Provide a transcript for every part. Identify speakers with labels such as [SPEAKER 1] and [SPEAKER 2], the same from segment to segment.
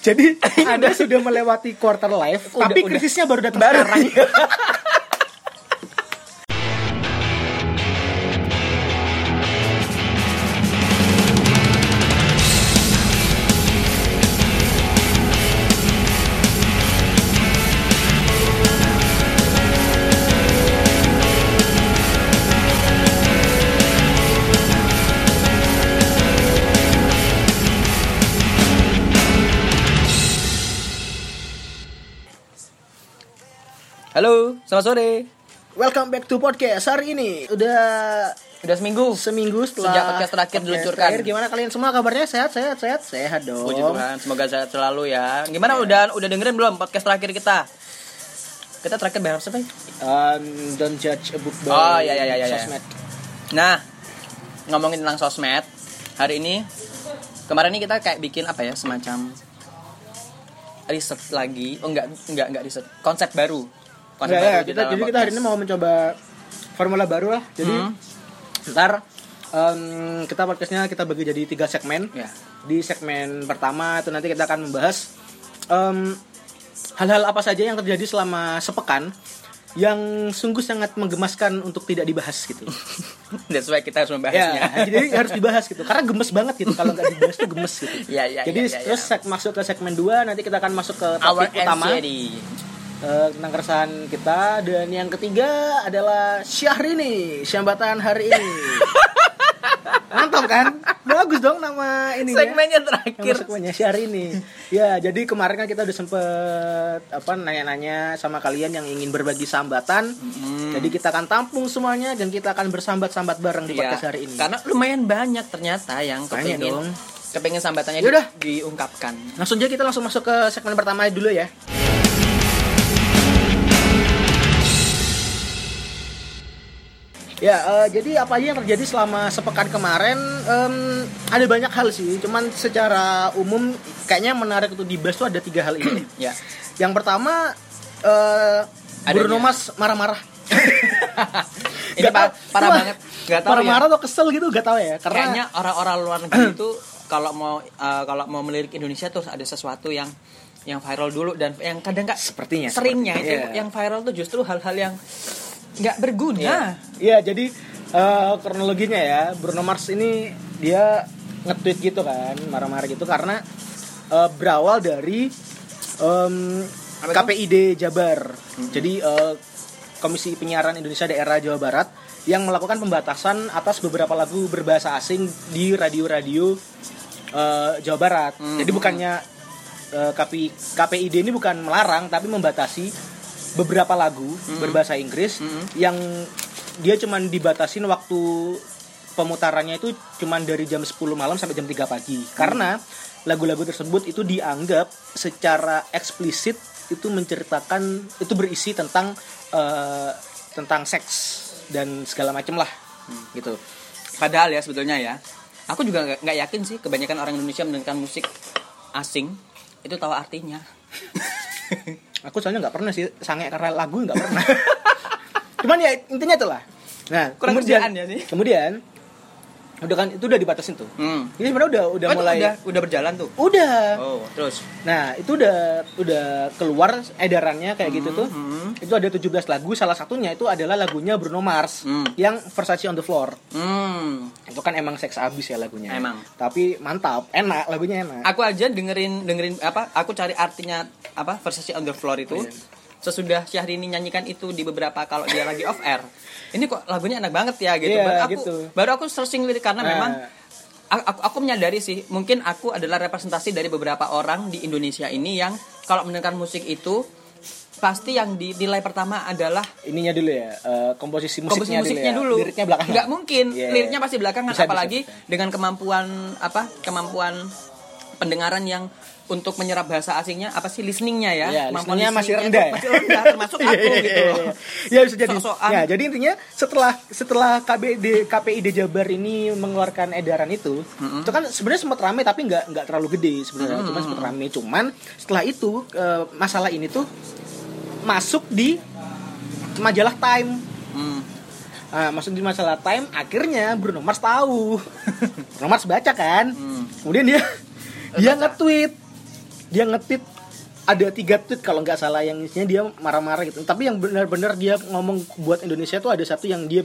[SPEAKER 1] Jadi Anda sudah melewati quarter life,
[SPEAKER 2] Udah,
[SPEAKER 1] tapi
[SPEAKER 2] udah.
[SPEAKER 1] krisisnya baru datang
[SPEAKER 2] Baru. iya.
[SPEAKER 1] sekarang.
[SPEAKER 2] Halo, selamat sore.
[SPEAKER 1] Welcome back to podcast hari ini. Udah
[SPEAKER 2] Udah seminggu.
[SPEAKER 1] seminggu setelah
[SPEAKER 2] Sejak podcast terakhir
[SPEAKER 1] podcast
[SPEAKER 2] diluncurkan.
[SPEAKER 1] terakhir, gimana kalian semua kabarnya? Sehat, sehat, sehat, sehat dong.
[SPEAKER 2] Puji Tuhan, semoga sehat selalu ya. Gimana udah udah dengerin belum podcast terakhir kita? Kita terakhir berharap siapa? ya?
[SPEAKER 1] Um, don't judge a book by
[SPEAKER 2] Oh, iya, iya, iya, iya.
[SPEAKER 1] sosmed.
[SPEAKER 2] Nah, ngomongin tentang sosmed hari ini. Kemarin ini kita kayak bikin apa ya semacam riset lagi. Oh enggak enggak enggak riset. Konsep baru. Konsep
[SPEAKER 1] Iya, iya,
[SPEAKER 2] baru
[SPEAKER 1] kita,
[SPEAKER 2] dalam
[SPEAKER 1] jadi kita hari ini
[SPEAKER 2] podcast.
[SPEAKER 1] mau mencoba formula baru lah. Jadi
[SPEAKER 2] Hmm.
[SPEAKER 1] ntar um, kita podcastnya kita bagi jadi tiga segmen.
[SPEAKER 2] Ya.
[SPEAKER 1] Di segmen pertama itu nanti kita akan membahas em, hal-hal apa saja yang terjadi selama sepekan yang sungguh sangat menggemaskan untuk tidak dibahas gitu.
[SPEAKER 2] That's why kita harus membahasnya.
[SPEAKER 1] ya, jadi harus dibahas gitu. Karena gemes banget gitu kalau nggak dibahas tuh gemes gitu.
[SPEAKER 2] Ya, ya,
[SPEAKER 1] jadi
[SPEAKER 2] ya, ya,
[SPEAKER 1] terus seg- masuk ke segmen 2 nanti kita akan masuk ke
[SPEAKER 2] Our
[SPEAKER 1] topik utama
[SPEAKER 2] anxiety.
[SPEAKER 1] eh, tentang keresahan kita dan yang ketiga adalah Syahrini, syambatan hari ini. Mantap kan? Bagus dong nama ini.
[SPEAKER 2] Segmennya
[SPEAKER 1] Yang
[SPEAKER 2] terakhir.
[SPEAKER 1] masuk banyak share ini. ya, jadi kemarin kan kita udah sempet apa nanya-nanya sama kalian yang ingin berbagi sambatan. Jadi kita akan tampung semuanya dan kita akan bersambat-sambat bareng di
[SPEAKER 2] Iya,
[SPEAKER 1] podcast hari ini.
[SPEAKER 2] Karena lumayan banyak ternyata yang
[SPEAKER 1] Banyak
[SPEAKER 2] kepingin
[SPEAKER 1] dong.
[SPEAKER 2] kepingin sambatannya
[SPEAKER 1] Yaudah.
[SPEAKER 2] di- diungkapkan.
[SPEAKER 1] Langsung aja kita langsung masuk ke segmen pertama dulu ya. Ya, eh, jadi apa aja yang terjadi selama sepekan kemarin? em, ada banyak hal sih, cuman secara umum kayaknya yang menarik untuk dibahas tuh ada tiga hal ini.
[SPEAKER 2] Ya.
[SPEAKER 1] Yang pertama eh Bruno
[SPEAKER 2] Adanya.
[SPEAKER 1] Mars marah-marah.
[SPEAKER 2] Ini
[SPEAKER 1] Gak
[SPEAKER 2] pa-
[SPEAKER 1] tahu.
[SPEAKER 2] parah
[SPEAKER 1] Wah,
[SPEAKER 2] banget. Gak tahu ya.
[SPEAKER 1] Marah-marah atau kesel gitu gak tahu ya. Karena
[SPEAKER 2] Kayaknya orang-orang luar negeri itu kalau mau eh, kalau mau melirik Indonesia tuh ada sesuatu yang yang viral dulu dan yang kadang nggak
[SPEAKER 1] Sepertinya,
[SPEAKER 2] seringnya
[SPEAKER 1] sepertinya.
[SPEAKER 2] itu
[SPEAKER 1] Iya.
[SPEAKER 2] yang viral tuh justru hal-hal yang nggak berguna.
[SPEAKER 1] Iya, jadi eh, kronologinya ya, Bruno Mars ini dia nge-tweet gitu kan, marah-marah gitu karena eh, berawal dari em,
[SPEAKER 2] Apa itu? Hmm.
[SPEAKER 1] KPID Jabar. Jadi eh, Komisi Penyiaran Indonesia Daerah Jawa Barat yang melakukan pembatasan atas beberapa lagu berbahasa asing di radio-radio eh, Jawa Barat.
[SPEAKER 2] Hmm.
[SPEAKER 1] Jadi bukannya eh, KPI, KPID ini bukan melarang tapi membatasi beberapa lagu berbahasa Inggris yang dia cuman dibatasin waktu pemutarannya itu cuman dari jam 10 malam sampai jam 3 pagi karena lagu-lagu tersebut itu dianggap secara eksplisit itu menceritakan itu berisi tentang eh, tentang seks dan segala macem lah gitu
[SPEAKER 2] Padahal ya sebetulnya ya, aku juga nggak- nggak yakin sih kebanyakan orang Indonesia mendengarkan musik asing itu tahu artinya.
[SPEAKER 1] aku soalnya nggak pernah sih sange karena lagu nggak pernah cuman ya intinya itulah nah
[SPEAKER 2] Kurang
[SPEAKER 1] kemudian
[SPEAKER 2] kerjaan ya sih.
[SPEAKER 1] kemudian udah kan itu udah dibatasin tuh
[SPEAKER 2] Hmm.
[SPEAKER 1] Ini sebenarnya udah udah
[SPEAKER 2] Oh, itu
[SPEAKER 1] mulai
[SPEAKER 2] udah, udah berjalan tuh.
[SPEAKER 1] udah.
[SPEAKER 2] Oh, terus.
[SPEAKER 1] Nah, itu udah udah keluar edarannya kayak gitu tuh.
[SPEAKER 2] hmm.
[SPEAKER 1] Itu ada 17 lagu, salah satunya itu adalah lagunya Bruno Mars
[SPEAKER 2] Hmm.
[SPEAKER 1] yang Versace on the Floor.
[SPEAKER 2] Hmm.
[SPEAKER 1] Itu kan emang seks abis ya lagunya.
[SPEAKER 2] Emang.
[SPEAKER 1] Tapi mantap, enak lagunya enak.
[SPEAKER 2] Aku aja dengerin dengerin apa? Aku cari artinya apa? Versace on the floor itu.
[SPEAKER 1] Iya.
[SPEAKER 2] Sesudah Syahrini nyanyikan itu di beberapa kalau dia lagi off air. Ini kok lagunya enak banget ya gitu.
[SPEAKER 1] Iya,
[SPEAKER 2] baru aku
[SPEAKER 1] gitu.
[SPEAKER 2] baru aku searching lirik karena
[SPEAKER 1] Nah.
[SPEAKER 2] memang a- aku aku menyadari sih mungkin aku adalah representasi dari beberapa orang di Indonesia ini yang kalau mendengarkan musik itu pasti yang dinilai pertama adalah
[SPEAKER 1] Ininya dulu ya, eh, komposisi
[SPEAKER 2] komposisi
[SPEAKER 1] musiknya,
[SPEAKER 2] musiknya
[SPEAKER 1] dulu.
[SPEAKER 2] dulu.
[SPEAKER 1] ya. Liriknya belakangan.
[SPEAKER 2] Nggak mungkin.
[SPEAKER 1] Iya.
[SPEAKER 2] Liriknya pasti belakangan
[SPEAKER 1] Bisa, bisa,
[SPEAKER 2] apalagi
[SPEAKER 1] bisa.
[SPEAKER 2] dengan kemampuan apa? Kemampuan pendengaran yang untuk menyerap bahasa asingnya apa sih listeningnya ya?
[SPEAKER 1] Iya,
[SPEAKER 2] Kemampuan
[SPEAKER 1] listeningnya masih
[SPEAKER 2] listeningnya
[SPEAKER 1] rendah
[SPEAKER 2] tuh
[SPEAKER 1] ya?
[SPEAKER 2] Masih rendah termasuk
[SPEAKER 1] Iya,
[SPEAKER 2] aku
[SPEAKER 1] iya, iya,
[SPEAKER 2] gitu.
[SPEAKER 1] iya,
[SPEAKER 2] loh.
[SPEAKER 1] iya. Ya bisa jadi.
[SPEAKER 2] Sok-sokan.
[SPEAKER 1] Ya, jadi intinya setelah setelah KBD KPID Jabar ini mengeluarkan edaran itu, itu kan sebenarnya sempat rame tapi nggak nggak terlalu gede sebenarnya, cuman sempat rame. Cuman setelah itu eh, masalah ini tuh masuk di majalah Time.
[SPEAKER 2] Hmm.
[SPEAKER 1] Nah, masuk di masalah Time, akhirnya Bruno Mars
[SPEAKER 2] Hmm. Eh,
[SPEAKER 1] tahu. Bruno Mars baca kan, kemudian dia dia nge-tweet dia ngetit ada tiga tweet kalau nggak salah yang isinya dia marah-marah gitu tapi yang benar-benar dia ngomong buat Indonesia tuh ada satu yang dia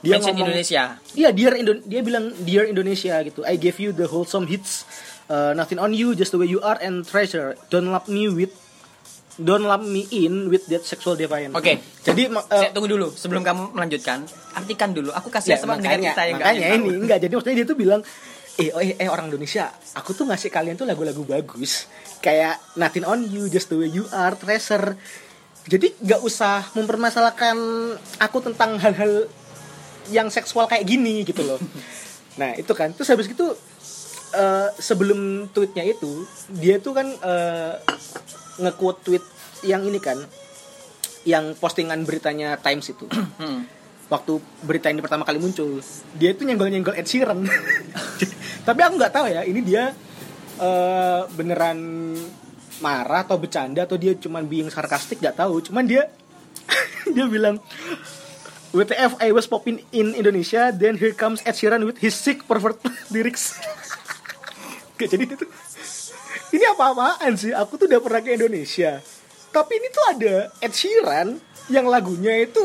[SPEAKER 1] dia
[SPEAKER 2] Mention
[SPEAKER 1] ngomong
[SPEAKER 2] Indonesia.
[SPEAKER 1] iya dear Indo- dia bilang dear Indonesia gitu I gave you the wholesome hits uh, nothing on you just the way you are and treasure don't lump me with don't lump me in with that sexual deviant
[SPEAKER 2] Oke.
[SPEAKER 1] jadi ma- uh,
[SPEAKER 2] Saya tunggu dulu sebelum kamu melanjutkan. Artikan dulu. Aku kasih
[SPEAKER 1] Ya,
[SPEAKER 2] kesempatan
[SPEAKER 1] makanya,
[SPEAKER 2] kita yang nggak
[SPEAKER 1] makanya
[SPEAKER 2] ada yang
[SPEAKER 1] ini
[SPEAKER 2] tahu.
[SPEAKER 1] enggak jadi maksudnya dia tuh bilang eh, oh, eh eh, orang Indonesia aku tuh ngasih kalian tuh lagu-lagu bagus kayak Nothing on You Just the Way You Are Treasure jadi nggak usah mempermasalahkan aku tentang hal-hal yang seksual kayak gini gitu loh nah itu kan terus habis itu eh, sebelum tweetnya itu dia tuh kan eh, nge-quote tweet yang ini kan yang postingan beritanya Times itu
[SPEAKER 2] Hmm.
[SPEAKER 1] waktu berita ini pertama kali muncul dia itu nyenggol nyenggol Ed Sheeran tapi aku nggak tahu ya ini dia eh, beneran marah atau bercanda atau dia cuman being sarkastik nggak tahu cuman dia dia bilang WTF I was popping in Indonesia then here comes Ed Sheeran with his sick pervert lyrics Oke, jadi itu ini apa-apaan sih? Aku tuh udah pernah ke Indonesia. Tapi ini tuh ada Ed Sheeran yang lagunya itu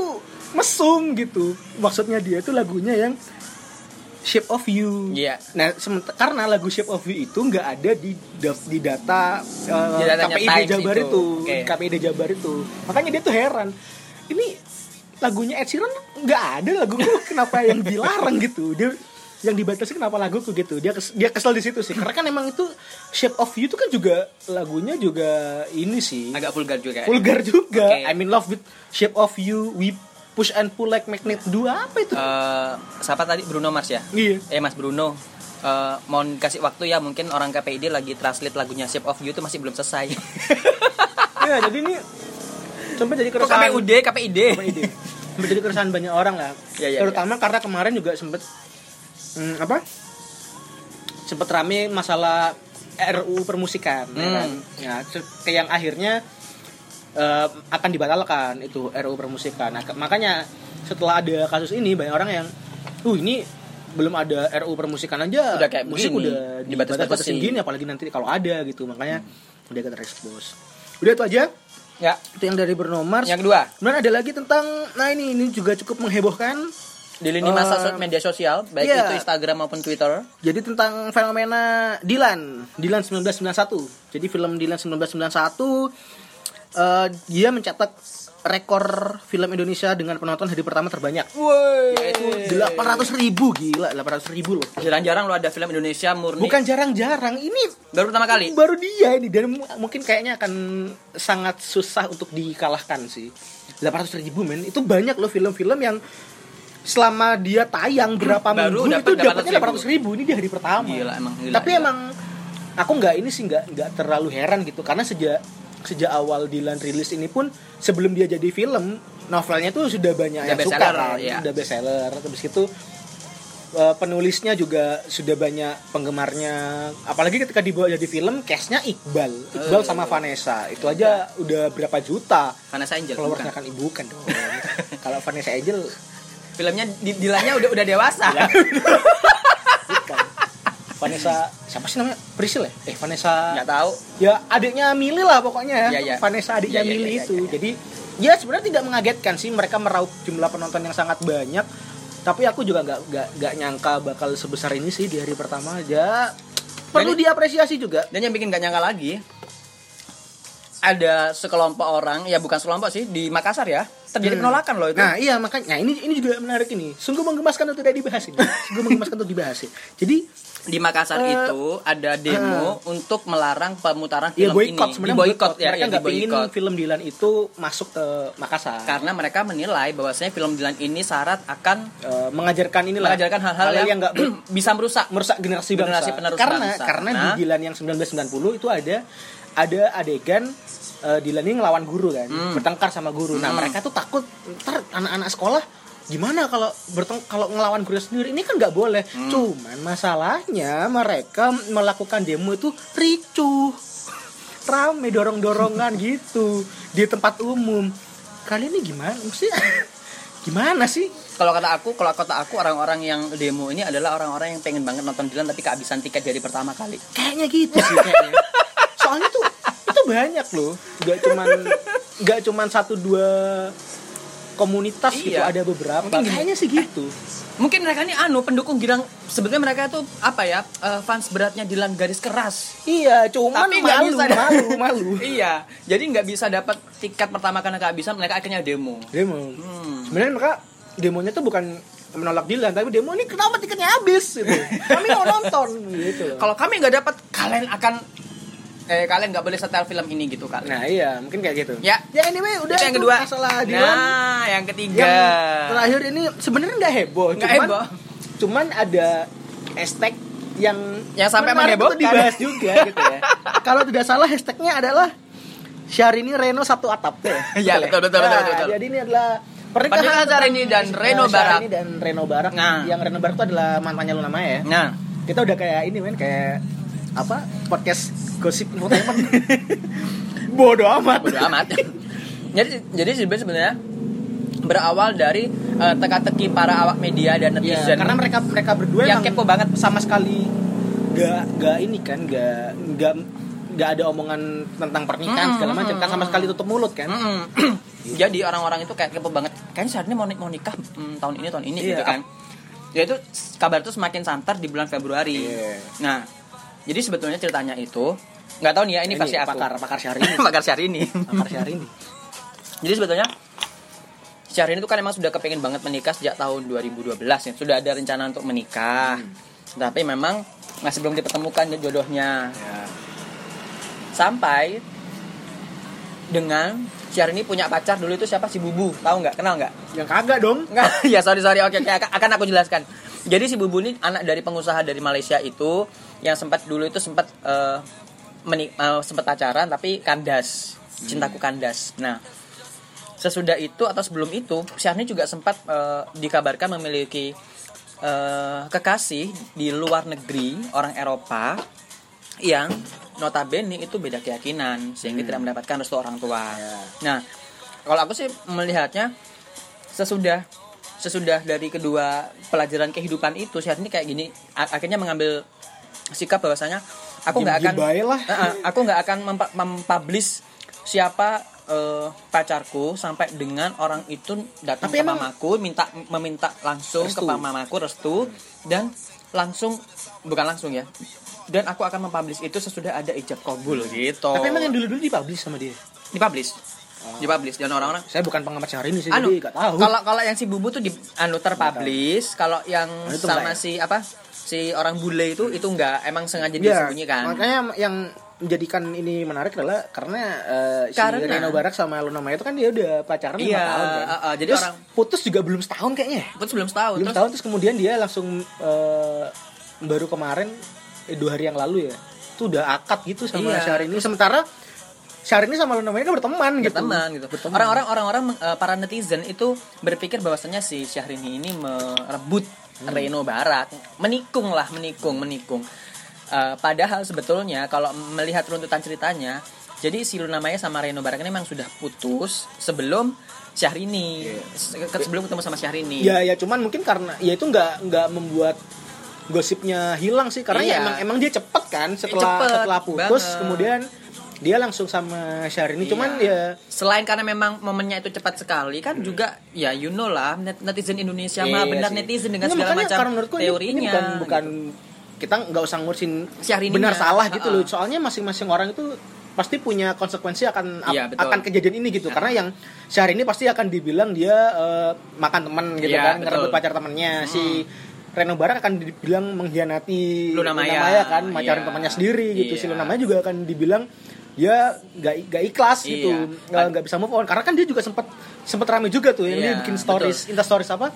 [SPEAKER 1] mesum gitu. Maksudnya dia itu lagunya yang Shape of You.
[SPEAKER 2] Iya.
[SPEAKER 1] Nah, sementa- karena lagu Shape of You itu nggak ada di da- di data eh,
[SPEAKER 2] Di datanya
[SPEAKER 1] KPID
[SPEAKER 2] Times
[SPEAKER 1] Jabar
[SPEAKER 2] itu.
[SPEAKER 1] itu,
[SPEAKER 2] Oke.
[SPEAKER 1] KPID Jabar itu. Makanya dia tuh heran. Ini lagunya Ed Sheeran nggak ada laguku kenapa yang dilarang gitu. Dia yang dibatasi kenapa laguku gitu. Dia kes- dia kesel di situ sih. Karena kan emang itu Shape of You itu kan juga lagunya juga ini sih.
[SPEAKER 2] Agak vulgar juga. ya.
[SPEAKER 1] Vulgar juga.
[SPEAKER 2] Oke.
[SPEAKER 1] I'm in love with Shape of You. We push and pull like magnet. Dua apa itu?
[SPEAKER 2] Eh, siapa tadi Bruno Mars ya?
[SPEAKER 1] Iya.
[SPEAKER 2] Eh Mas Bruno, eh, mohon kasih waktu ya mungkin orang KPID lagi translate lagunya Shape of You itu masih belum selesai.
[SPEAKER 1] ya jadi ini sampai jadi
[SPEAKER 2] Kok
[SPEAKER 1] keresahan
[SPEAKER 2] KPUD, KPID?
[SPEAKER 1] Apa ide? Sampai jadi keresahan banyak orang lah
[SPEAKER 2] Ya, ya,
[SPEAKER 1] terutama karena kemarin juga sempet hmm, apa sempet rame masalah RUU permusikan ya
[SPEAKER 2] Hmm.
[SPEAKER 1] kan? ya se- ke yang akhirnya eh, akan dibatalkan itu RUU permusikan Nah, ke- makanya setelah ada kasus ini banyak orang yang uh ini belum ada RUU permusikan aja
[SPEAKER 2] Udah kayak
[SPEAKER 1] musik
[SPEAKER 2] begini,
[SPEAKER 1] udah
[SPEAKER 2] dibatas-batasin.
[SPEAKER 1] dibatas-batasin gini apalagi nanti kalau ada gitu makanya udah kita expose udah itu aja
[SPEAKER 2] Ya.
[SPEAKER 1] itu yang dari Bruno Mars
[SPEAKER 2] Yang kedua,
[SPEAKER 1] Kemudian ada lagi tentang nah ini ini juga cukup menghebohkan.
[SPEAKER 2] di lini masa
[SPEAKER 1] Eh,
[SPEAKER 2] so- media sosial, baik
[SPEAKER 1] iya.
[SPEAKER 2] itu Instagram maupun Twitter.
[SPEAKER 1] Jadi tentang fenomena Dylan, Dylan 1991. Jadi film Dylan 1991 eh, dia mencetak rekor film Indonesia dengan penonton hari pertama terbanyak.
[SPEAKER 2] Woi.
[SPEAKER 1] Itu 800 ribu gila, 800 ribu loh.
[SPEAKER 2] Jarang-jarang lo ada film Indonesia murni.
[SPEAKER 1] Bukan jarang-jarang, ini
[SPEAKER 2] Baru pertama kali.
[SPEAKER 1] baru dia ini dan mu- mungkin kayaknya akan sangat susah untuk dikalahkan sih 800 ribu men itu banyak loh film-film yang selama dia tayang berapa
[SPEAKER 2] Baru
[SPEAKER 1] minggu
[SPEAKER 2] dapat
[SPEAKER 1] itu dapatnya 800
[SPEAKER 2] 800.000.
[SPEAKER 1] ribu ini di hari pertama
[SPEAKER 2] Gila, emang gila,
[SPEAKER 1] tapi
[SPEAKER 2] gila.
[SPEAKER 1] emang aku nggak ini sih nggak nggak terlalu heran gitu karena sejak sejak awal Dylan rilis ini pun sebelum dia jadi film novelnya tuh sudah banyak
[SPEAKER 2] Udah
[SPEAKER 1] yang suka
[SPEAKER 2] bestseller,
[SPEAKER 1] kan
[SPEAKER 2] iya.
[SPEAKER 1] udah bestseller terus itu eh, penulisnya juga sudah banyak penggemarnya apalagi ketika dibawa jadi film cashnya Iqbal Iqbal sama Vanessa itu aja udah berapa juta
[SPEAKER 2] Vanessa Angel.
[SPEAKER 1] followersnya
[SPEAKER 2] Eh. Iya. bukan.
[SPEAKER 1] kan ibu kan dong kalau Vanessa Angel
[SPEAKER 2] Filmnya di dilanya udah udah dewasa.
[SPEAKER 1] Iya. bukan Vanessa siapa sih namanya Priscil ya eh Vanessa
[SPEAKER 2] Nggak tahu.
[SPEAKER 1] ya adiknya Mili lah pokoknya
[SPEAKER 2] Ya, ya.
[SPEAKER 1] Vanessa adiknya
[SPEAKER 2] Ya, ya,
[SPEAKER 1] Mili
[SPEAKER 2] ya, ya,
[SPEAKER 1] itu jadi ya sebenarnya tidak mengagetkan sih mereka meraup jumlah penonton yang sangat banyak tapi aku juga nggak nggak nggak nyangka bakal sebesar ini sih di hari pertama aja perlu diapresiasi juga
[SPEAKER 2] Dan yang bikin gak nyangka lagi ada sekelompok orang, ya bukan sekelompok sih, di Makassar ya. Terjadi
[SPEAKER 1] Hmm.
[SPEAKER 2] penolakan loh itu.
[SPEAKER 1] Nah iya makanya nah, ini ini juga menarik ini. Sungguh menggemaskan untuk tidak dibahas ini. Sungguh menggemaskan untuk dibahas. ya. Jadi
[SPEAKER 2] di Makassar
[SPEAKER 1] Eh,
[SPEAKER 2] itu ada demo untuk melarang pemutaran
[SPEAKER 1] ya
[SPEAKER 2] film
[SPEAKER 1] boykot
[SPEAKER 2] ini.
[SPEAKER 1] sebenarnya
[SPEAKER 2] Di boykot,
[SPEAKER 1] boykot.
[SPEAKER 2] ya,
[SPEAKER 1] Mereka
[SPEAKER 2] ya,
[SPEAKER 1] nggak pingin
[SPEAKER 2] diboykot.
[SPEAKER 1] film Dilan itu masuk ke Makassar.
[SPEAKER 2] karena mereka menilai bahwasanya film Dilan ini syarat akan
[SPEAKER 1] Eh, mengajarkan inilah
[SPEAKER 2] mengajarkan hal-hal yang,
[SPEAKER 1] yang nggak ber-
[SPEAKER 2] bisa merusak
[SPEAKER 1] merusak generasi
[SPEAKER 2] Generasi
[SPEAKER 1] bangsa.
[SPEAKER 2] penerus
[SPEAKER 1] karena
[SPEAKER 2] bangsa.
[SPEAKER 1] karena
[SPEAKER 2] Nah.
[SPEAKER 1] di Dilan yang 1990 itu ada ada adegan eh, Dilan ini ngelawan guru kan, bertengkar sama guru. Nah,
[SPEAKER 2] Hmm.
[SPEAKER 1] mereka tuh takut ntar anak-anak sekolah gimana kalau berteng kalau ngelawan guru sendiri ini kan nggak boleh.
[SPEAKER 2] Hmm.
[SPEAKER 1] Cuman masalahnya mereka melakukan demo itu ricuh. Rame dorong-dorongan gitu di tempat umum. Kalian ini gimana sih? gimana sih?
[SPEAKER 2] kalau kata aku kalau kata aku orang-orang yang demo ini adalah orang-orang yang pengen banget nonton Dilan tapi kehabisan tiket dari pertama kali
[SPEAKER 1] kayaknya gitu sih kayaknya. soalnya tuh banyak loh nggak cuman nggak cuman satu dua komunitas gitu
[SPEAKER 2] Iya.
[SPEAKER 1] ada beberapa
[SPEAKER 2] Mungkin gini.
[SPEAKER 1] kayaknya sih gitu
[SPEAKER 2] Mungkin mereka ini anu pendukung Gilang sebetulnya mereka itu apa ya eh, fans beratnya Dilan garis keras.
[SPEAKER 1] iya cuman
[SPEAKER 2] Tapi nggak
[SPEAKER 1] malu,
[SPEAKER 2] bisa.
[SPEAKER 1] malu malu malu
[SPEAKER 2] iya, jadi nggak bisa dapat tiket pertama karena kehabisan, mereka akhirnya demo.
[SPEAKER 1] demo
[SPEAKER 2] Hmm.
[SPEAKER 1] sebenarnya mereka demonya tuh bukan menolak Dilan tapi demo ini kenapa tiketnya habis gitu kami mau nonton gitu loh.
[SPEAKER 2] Kalau kami nggak dapat, kalian akan eh kalian nggak boleh setel film ini gitu kali.
[SPEAKER 1] nah iya mungkin kayak gitu
[SPEAKER 2] Ya.
[SPEAKER 1] ya anyway udah
[SPEAKER 2] Itu yang
[SPEAKER 1] itu
[SPEAKER 2] kedua.
[SPEAKER 1] masalah Dilan
[SPEAKER 2] Nah, yang ketiga.
[SPEAKER 1] yang terakhir ini sebenarnya nggak heboh
[SPEAKER 2] Nggak eh,
[SPEAKER 1] cuman
[SPEAKER 2] heboh.
[SPEAKER 1] cuman ada hashtag yang
[SPEAKER 2] Yang sampai
[SPEAKER 1] menarik
[SPEAKER 2] menghebohkan.
[SPEAKER 1] untuk dibahas juga gitu ya kalau tidak salah hashtagnya adalah Syahrini Reno satu atap
[SPEAKER 2] Ya, betul, betul, betul,
[SPEAKER 1] Nah,
[SPEAKER 2] betul, betul.
[SPEAKER 1] jadi ini adalah pernikahan
[SPEAKER 2] Pernikahan Syahrini dan
[SPEAKER 1] antara
[SPEAKER 2] Reno
[SPEAKER 1] Syahrini dan Reno Barak
[SPEAKER 2] Nah.
[SPEAKER 1] yang Reno Barak itu adalah mantannya Luna Maya ya
[SPEAKER 2] Nah,
[SPEAKER 1] kita udah kayak ini men kayak apa podcast gosip infotainment bodoh amat
[SPEAKER 2] bodo amat. jadi jadi sebenarnya sebenarnya berawal dari eh, teka-teki para awak media dan
[SPEAKER 1] Iya,
[SPEAKER 2] netizen.
[SPEAKER 1] karena mereka mereka berdua emang
[SPEAKER 2] Yang Kan Ya, kepo banget.
[SPEAKER 1] sama sekali nggak nggak ini kan nggak nggak nggak ada omongan tentang pernikahan
[SPEAKER 2] Mm,
[SPEAKER 1] segala macam
[SPEAKER 2] mm,
[SPEAKER 1] kan sama sekali tutup mulut kan
[SPEAKER 2] Mm-mm. jadi orang-orang itu kayak kepo banget. Kayaknya Syahrini mau, ni- mau nikah mm, tahun ini tahun ini
[SPEAKER 1] Iya.
[SPEAKER 2] gitu kan. Ya itu s- kabar itu semakin santer di bulan Februari.
[SPEAKER 1] Iya.
[SPEAKER 2] Nah, jadi sebetulnya ceritanya itu nggak tahu nih ya ini, pasti aku.
[SPEAKER 1] pakar pakar syahrini
[SPEAKER 2] Pakar Syahrini.
[SPEAKER 1] pakar syahrini
[SPEAKER 2] Jadi sebetulnya Syahrini itu kan emang sudah kepengen banget menikah sejak tahun 2012 ya. Sudah ada rencana untuk menikah.
[SPEAKER 1] Hmm.
[SPEAKER 2] Tapi memang masih belum dipertemukan jodohnya.
[SPEAKER 1] Ya,
[SPEAKER 2] Sampai dengan Syahrini punya pacar dulu itu siapa si Bubu, tahu nggak? Kenal nggak?
[SPEAKER 1] yang kagak dong
[SPEAKER 2] Nggak, ya sorry sorry. Oke oke akan- akan aku jelaskan. Jadi si Bubu ini anak dari pengusaha dari Malaysia itu yang sempat dulu itu sempat eh, meni- eh, sempat pacaran tapi kandas. Cintaku kandas. Nah, sesudah itu atau sebelum itu Syahrini juga sempat eh, dikabarkan memiliki eh, kekasih di luar negeri orang Eropa yang notabene itu beda keyakinan sehingga tidak mendapatkan restu orang tua. Nah, kalau aku sih melihatnya sesudah sesudah dari kedua pelajaran kehidupan itu Syahrini kayak gini a- akhirnya mengambil sikap bahwasanya aku nggak akan
[SPEAKER 1] Diem-diem bae lah.
[SPEAKER 2] Eh, eh, aku nggak akan mempa- mempublish siapa eh, pacarku sampai dengan orang itu datang
[SPEAKER 1] Tapi
[SPEAKER 2] ke
[SPEAKER 1] emang-
[SPEAKER 2] mamaku minta meminta langsung
[SPEAKER 1] Restu.
[SPEAKER 2] ke mamaku restu dan langsung bukan langsung ya dan aku akan mempublish itu sesudah ada ijab kabul gitu
[SPEAKER 1] tapi emang yang dulu dulu dipublish sama dia
[SPEAKER 2] dipublish dipublish dan orang-orang
[SPEAKER 1] saya bukan pengamat syahrini sih
[SPEAKER 2] anu
[SPEAKER 1] jadi nggak tahu
[SPEAKER 2] kalau kalau yang si bubu tuh di anu terpublish kalau yang
[SPEAKER 1] Anu itu
[SPEAKER 2] sama
[SPEAKER 1] enggak ya?
[SPEAKER 2] si apa si orang bule itu itu enggak emang sengaja kan?
[SPEAKER 1] Iya,
[SPEAKER 2] disembunyikan
[SPEAKER 1] makanya yang menjadikan ini menarik adalah karena eh,
[SPEAKER 2] Karena-
[SPEAKER 1] si Reno Barak sama Luna Maya itu kan dia udah pacaran lima
[SPEAKER 2] Iya,
[SPEAKER 1] tahun kan.
[SPEAKER 2] eh, eh, jadi
[SPEAKER 1] Terus
[SPEAKER 2] orang-
[SPEAKER 1] putus juga belum setahun kayaknya. ya?
[SPEAKER 2] Putus belum setahun
[SPEAKER 1] belum
[SPEAKER 2] Oh, terus
[SPEAKER 1] setahun terus kemudian dia langsung eh, baru kemarin eh, dua hari yang lalu ya itu udah akad gitu sama
[SPEAKER 2] Iya.
[SPEAKER 1] Syahrini sementara Syahrini sama Luna Maya kan berteman gitu
[SPEAKER 2] berteman gitu.
[SPEAKER 1] Berteman.
[SPEAKER 2] Orang-orang orang-orang eh, para netizen itu berpikir bahwasannya si Syahrini ini merebut
[SPEAKER 1] Hmm.
[SPEAKER 2] Reno Barak, menikung lah, menikung, menikung. Eh, padahal sebetulnya kalau melihat runtutan ceritanya, jadi si Luna Maya sama Reno Barak ini memang sudah putus sebelum Syahrini,
[SPEAKER 1] Iya.
[SPEAKER 2] Se- ke- sebelum ketemu sama Syahrini.
[SPEAKER 1] ya ya cuman mungkin karena ya itu nggak nggak membuat gosipnya hilang sih karena ya
[SPEAKER 2] Iya.
[SPEAKER 1] emang emang dia cepet kan setelah
[SPEAKER 2] cepet
[SPEAKER 1] setelah putus
[SPEAKER 2] banget.
[SPEAKER 1] kemudian dia langsung sama Syahrini cuman ya
[SPEAKER 2] Iya.
[SPEAKER 1] Hmm.
[SPEAKER 2] Selain karena memang momennya itu cepat sekali kan juga ya you know lah net- netizen Indonesia mah
[SPEAKER 1] Iya
[SPEAKER 2] benar
[SPEAKER 1] sih.
[SPEAKER 2] netizen dengan
[SPEAKER 1] Ini
[SPEAKER 2] segala
[SPEAKER 1] makanya
[SPEAKER 2] macam
[SPEAKER 1] karena menurutku ini-
[SPEAKER 2] teorinya.
[SPEAKER 1] ini, bukan
[SPEAKER 2] gitu.
[SPEAKER 1] bukan kita nggak usah ngurusin
[SPEAKER 2] Syahrini-nya.
[SPEAKER 1] benar salah gitu
[SPEAKER 2] Ha-ha.
[SPEAKER 1] loh soalnya masing-masing orang itu pasti punya konsekuensi akan ap-
[SPEAKER 2] Iya, betul. Iya.
[SPEAKER 1] akan kejadian ini gitu karena yang Syahrini pasti akan dibilang dia eh, makan temen gitu
[SPEAKER 2] Iya,
[SPEAKER 1] kan
[SPEAKER 2] betul. Hmm.
[SPEAKER 1] ngerebut pacar temennya si Reno Barak akan dibilang mengkhianati
[SPEAKER 2] Luna Maya.
[SPEAKER 1] kan pacaran
[SPEAKER 2] Iya.
[SPEAKER 1] temannya sendiri gitu si
[SPEAKER 2] Iya.
[SPEAKER 1] Luna Maya juga akan dibilang dia nggak nggak ikhlas
[SPEAKER 2] Iya.
[SPEAKER 1] gitu nggak nggak bisa move on karena kan dia juga sempat sempat rame juga tuh yang
[SPEAKER 2] Iya,
[SPEAKER 1] dia bikin stories insta stories apa